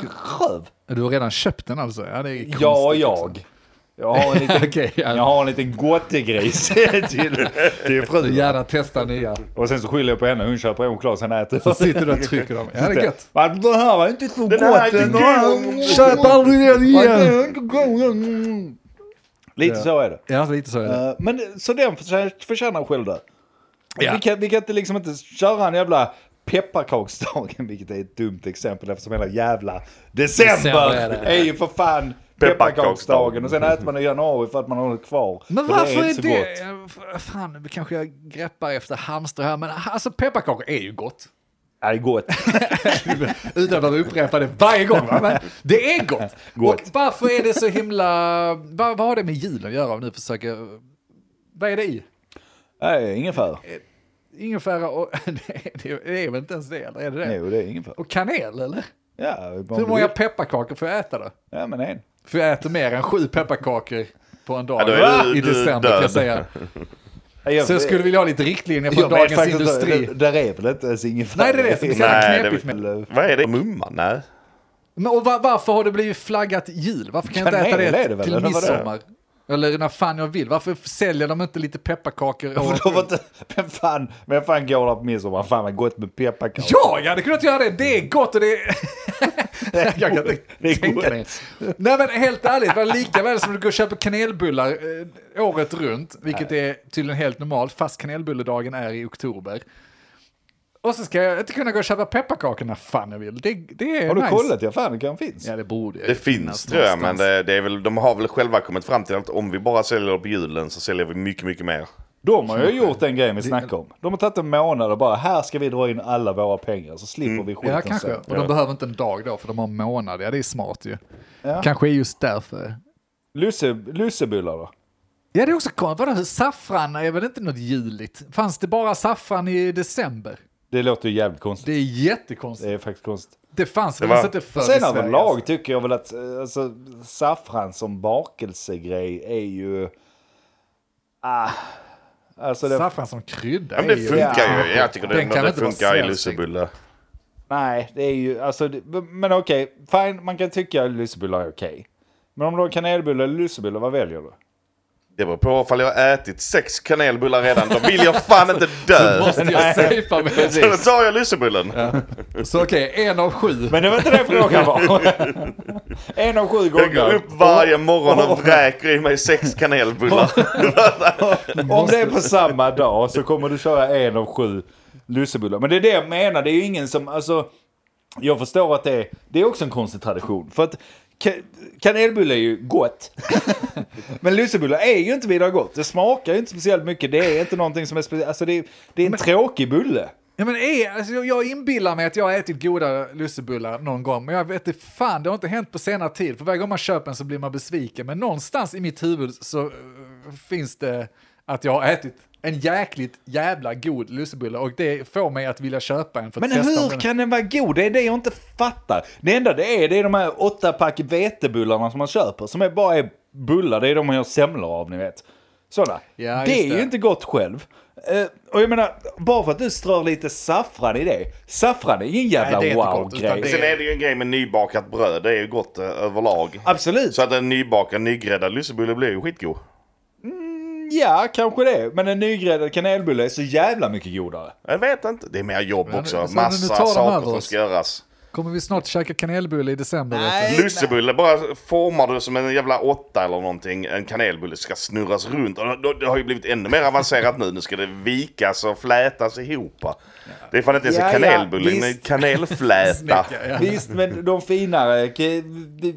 B: röv.
A: Du har redan köpt den alltså? Ja, det är konstigt.
B: Ja, jag. Jag har en liten,
A: Okej, ja.
B: jag har en liten gottegris till, till
A: Du
B: frun.
A: Gärna testa nya.
B: Och sen så skyller jag på henne, hon köper en choklad, sen äter
A: Så sitter du och trycker dem. Ja, det är gött.
B: Va, Den här var inte så gott.
D: Den här är inte
B: ändå.
D: god.
A: Köp aldrig den
B: Va, den
A: igen!
B: är inte god. Lite
A: Ja.
B: så är det.
A: Ja, lite så är det.
B: Eh, Men så den förtjä- förtjänar självdöd.
A: Ja.
B: Vi, kan, vi kan inte liksom inte köra en jävla pepparkaksdagen, vilket är ett dumt exempel eftersom hela jävla december
A: December är
B: är,
A: det.
B: ju för fan pepparkaksdagen och sen äter man i januari för att man har det kvar.
A: Men
B: För
A: varför
B: inte
A: är
B: så
A: det...
B: gott.
A: eh, Fan, nu kanske jag greppar efter hamster här, men alltså pepparkakor är ju gott.
B: Ja, det är gott.
A: Utan att behöva upprepa det varje gång. Va? Men det är gott.
B: Gott.
A: Och varför är det så himla... Vad, vad har det med julen att göra om nu försöker... Vad är det i?
B: Nej, ingefära.
A: Ingefära och... Det är, det är väl inte ens det, eller är det det?
B: Jo, det är ingefära.
A: Och kanel, eller?
B: Ja, det är bara
A: Hur
B: en
A: många
B: bit.
A: pepparkakor får jag äta då?
B: Ja, men en.
A: För jag äter mer än sju pepparkakor på en dag
D: Ja, då är du-
A: i
D: du är
A: december kan
D: död.
A: jag säga.
B: Ja, Jag,
A: Så jag skulle vilja ha lite riktlinjer från
B: jag vet
A: Dagens
B: faktiskt inte.
A: Industri.
B: Det, det är väl inte ens ingefära?
A: Nej, det är det som är så
D: Nej,
A: jävla
D: det är
A: knepigt med
B: Eller-
D: Vad är det? Mumma? Nej.
A: Men och va- varför har det blivit flaggat jul? Varför kan jag inte
B: Kanel
A: äta det,
B: är det väl,
A: till
B: eller vad det är?
A: midsommar? Eller när fan jag vill. Varför säljer de inte lite pepparkakor?
B: Och
A: Och...
B: då var inte- Vem fan, vem fan går där på midsommar? Fan vad gott med pepparkakor.
A: Ja, jag hade kunnat göra det. Det är gott och det är... jag kan inte
B: Det är
A: tänka mig. Nej men helt ärligt, var lika väl som du går och köper kanelbullar eh, året runt, vilket är tydligen helt normalt, fast kanelbulledagen är i oktober. Och så ska jag inte kunna gå och köpa pepparkakor när fan jag vill. Det, det är
B: Har du
A: nice.
B: kollat? Ja, fan det kan finnas.
A: Ja, det borde jag.
D: Det finns tror jag, men det, det är väl, de har väl själva kommit fram till att om vi bara säljer på julen så säljer vi mycket, mycket mer.
B: De har ju gjort den grejen vi snackade om. De har tagit en månad och bara här ska vi dra in alla våra pengar så slipper vi skiten
A: Mm. Ja, kanske.
B: sen.
A: Och de behöver inte en dag då, för de har en månad. Ja, det är smart ju. Kanske är just därför.
B: Lusse, lussebullar då?
A: Ja, det är också konstigt. Vadå, saffran är väl inte något juligt? Fanns det bara saffran i december?
B: Det låter ju jävligt konstigt.
A: Det är
B: Det
A: jättekonstigt.
B: är faktiskt konstigt.
A: Det fanns
D: var-
A: väl inte förr i
B: Sen
A: Sverige,
B: överlag tycker jag väl att eh, alltså, saffran som bakelsegrej är ju... Ah, alltså det,
A: Saffran som krydda
D: Ja, men det
A: är ju-
D: funkar ju. Jag tycker det,
A: Den kan
D: det
A: inte vara
D: funkar i
A: svensk.
D: lussebulle.
B: nej, det är ju... Alltså, det, men okej, fine, man kan tycka att lussebullar är okej. Men om du har kanelbullar eller lussebullar, vad väljer du?
D: Det beror på ifall jag har ätit sex kanelbullar redan. Då vill jag fan inte dö.
A: Måste jag safea mig?
D: Så då tar jag lussebullen.
A: Så okej, en av sju.
B: Men det var inte det frågan var. en av sju
D: Jag går
B: gånger.
D: upp varje morgon och vräker i mig sex kanelbullar.
B: Om det är på samma dag så kommer du köra en av sju lussebullar. Men det är det jag menar, det är ju ingen som... Alltså, jag förstår att det är, det är också en konstig tradition. För att ka- kanelbulle är ju gott. Men lussebullar är ju inte vidare gott. Det smakar ju inte speciellt mycket. Det är inte någonting som är speciellt. Alltså det är, det är en tråkig bulle.
A: Ja, men är, alltså, jag- jag inbillar mig att jag har ätit goda lussebullar någon gång, men jag vet inte fan, det har inte hänt på senare tid. För varje gång man köper en så blir man besviken, men någonstans i mitt huvud så eh, finns det att jag har ätit en jäkligt jävla god lussebulle och det får mig att vilja köpa en för att
B: Men
A: testa om
B: hur
A: den-
B: kan den vara god? Det är det jag inte fattar. Det enda det är, det är de här åtta pack vetebullarna som man köper. Som är bara är bullar, det är de man gör semlor av, ni vet. Sådana.
A: Ja,
B: det
A: just
B: är ju
A: det.
B: inte gott själv. Eh, och jag menar, bara för att du strör lite saffran i det. Saffran är ju en jävla
A: Nej, det är inte gott, utan
B: wow-grej.
A: det-
D: Sen är det ju en grej med nybakat bröd. Det är ju gott eh, överlag.
B: Absolut.
D: Så att en nybakad, nygräddad lussebulle blir ju skitgod.
B: Ja, kanske det. Men en nygräddad kanelbulle är så jävla mycket godare.
D: Jag vet inte. Det är mer jobb
A: Men,
D: också.
A: så nu
D: Massa
A: tar de över
D: saker som
A: oss.
D: ska göras.
A: Kommer vi snart käka kanelbulle i december? vet
D: Lussebulle bara formar du som en jävla åtta eller någonting. En kanelbulle ska snurras runt. Och det- det har ju blivit ännu mer avancerat nu. Nu ska det vikas och flätas ihop. Det är fan inte ens
B: Ja,
D: en kanelbulle,
B: ja,
D: men en
B: visst.
D: kanelfläta.
A: du? Ja, ja.
B: Visst, men de finare, k-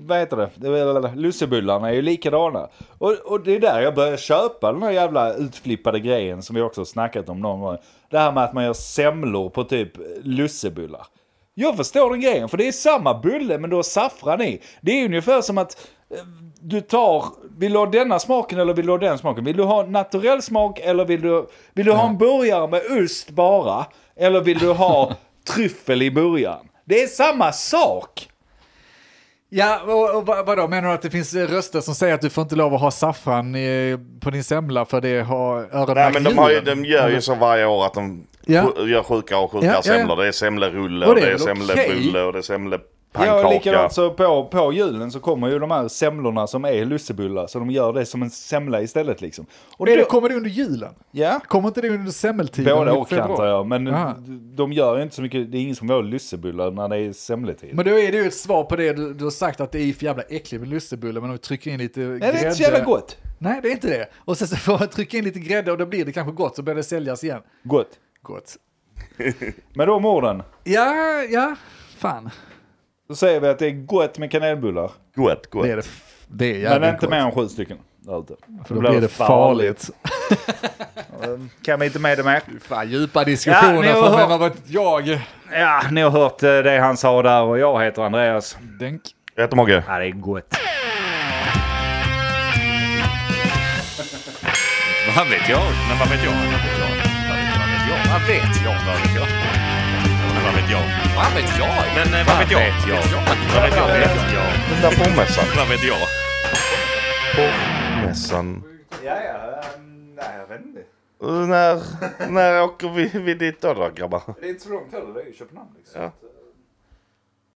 B: vad heter det, lussebullarna är ju likadana. Och, och det är där jag börjar köpa den här jävla utflippade grejen som vi också har snackat om någon gång. Det här med att man gör semlor på typ lussebullar. Jag förstår den grejen, för det är samma bulle men du har saffran i. Det är ungefär som att eh, du tar, vill du ha denna smaken eller vill du ha den smaken? Vill du ha naturell smak eller vill du, vill du ha en burgare med ost bara? Eller vill du ha tryffel i burgaren? Det är samma sak!
A: Ja, och, och vad- vadå, menar du att det finns eh, röster som säger att du får inte lov att ha saffran eh, på din semla för det har
D: Nej
A: öronmärkt
D: men de, har ju,
A: djuren?
D: de gör ju så varje år att de
A: Ja.
D: sj- gör sjukare och sjukare
A: Ja, ja, ja.
D: semlor. Det är semlerulle
A: Och
D: och
A: det är
D: det är
A: väl
D: semlebulle
A: okej.
D: och det är
B: Ja, och
D: semlepannkaka.
B: likadant så på, på julen så kommer ju de här semlorna som är lussebullar, så de gör det som en semla istället liksom. Och
A: Nej, det
B: då-
A: kommer det under julen?
B: Ja.
A: Kommer inte det under semmeltiden?
B: Båda
A: i
B: och
A: februari?
B: antar jag, men
A: Aha.
B: de gör ju inte så mycket, det är ingen som vill ha lussebullar när det är semletid.
A: Men då är det ju ett svar på det du, du har sagt att det är för jävla äckligt med lussebulle, men om vi trycker in lite grädde.
B: Nej, det är inte så jävla gott.
A: Nej, det är inte det. Och sen så får man trycka in lite grädde och då blir det kanske gott, så börjar det säljas igen.
B: Gott.
A: Gott.
B: Med de orden
A: Ja, ja, fan.
B: så säger vi att det är gott med kanelbullar.
D: Gott, gott.
A: Det är det. f- Det är jävligt
B: Men inte
A: gott.
B: mer än sju stycken. Där ute.
A: För då blir det farligt.
B: Kan vi inte med det mer?
A: Fan, djupa diskussioner
B: Ja, ni har
A: från
B: hört.
A: vem har varit jag.
B: Ja, ni har hört eh, det han sa där och jag heter Andreas.
A: Denk.
D: Jag heter Mogge.
B: Ja, det är gott.
C: Vad vet jag? Men vad vet jag? Vad vet jag? Vad vet jag? Vad vet jag? Vad vet jag? Men vad vet jag? Vad vet jag? Men eh, vad vet jag? Vad vet jag? Vad vet jag? Vad vet jag?
D: Den där porrmässan.
C: Vad vet jag?
D: Mässan.
B: Ja, ja. ehm, Nej, jag vet inte.
D: När, när åker vi, vi dit då, då grabbar?
B: Det är inte så långt heller, det är ju Köpenhamn liksom.
D: Ja.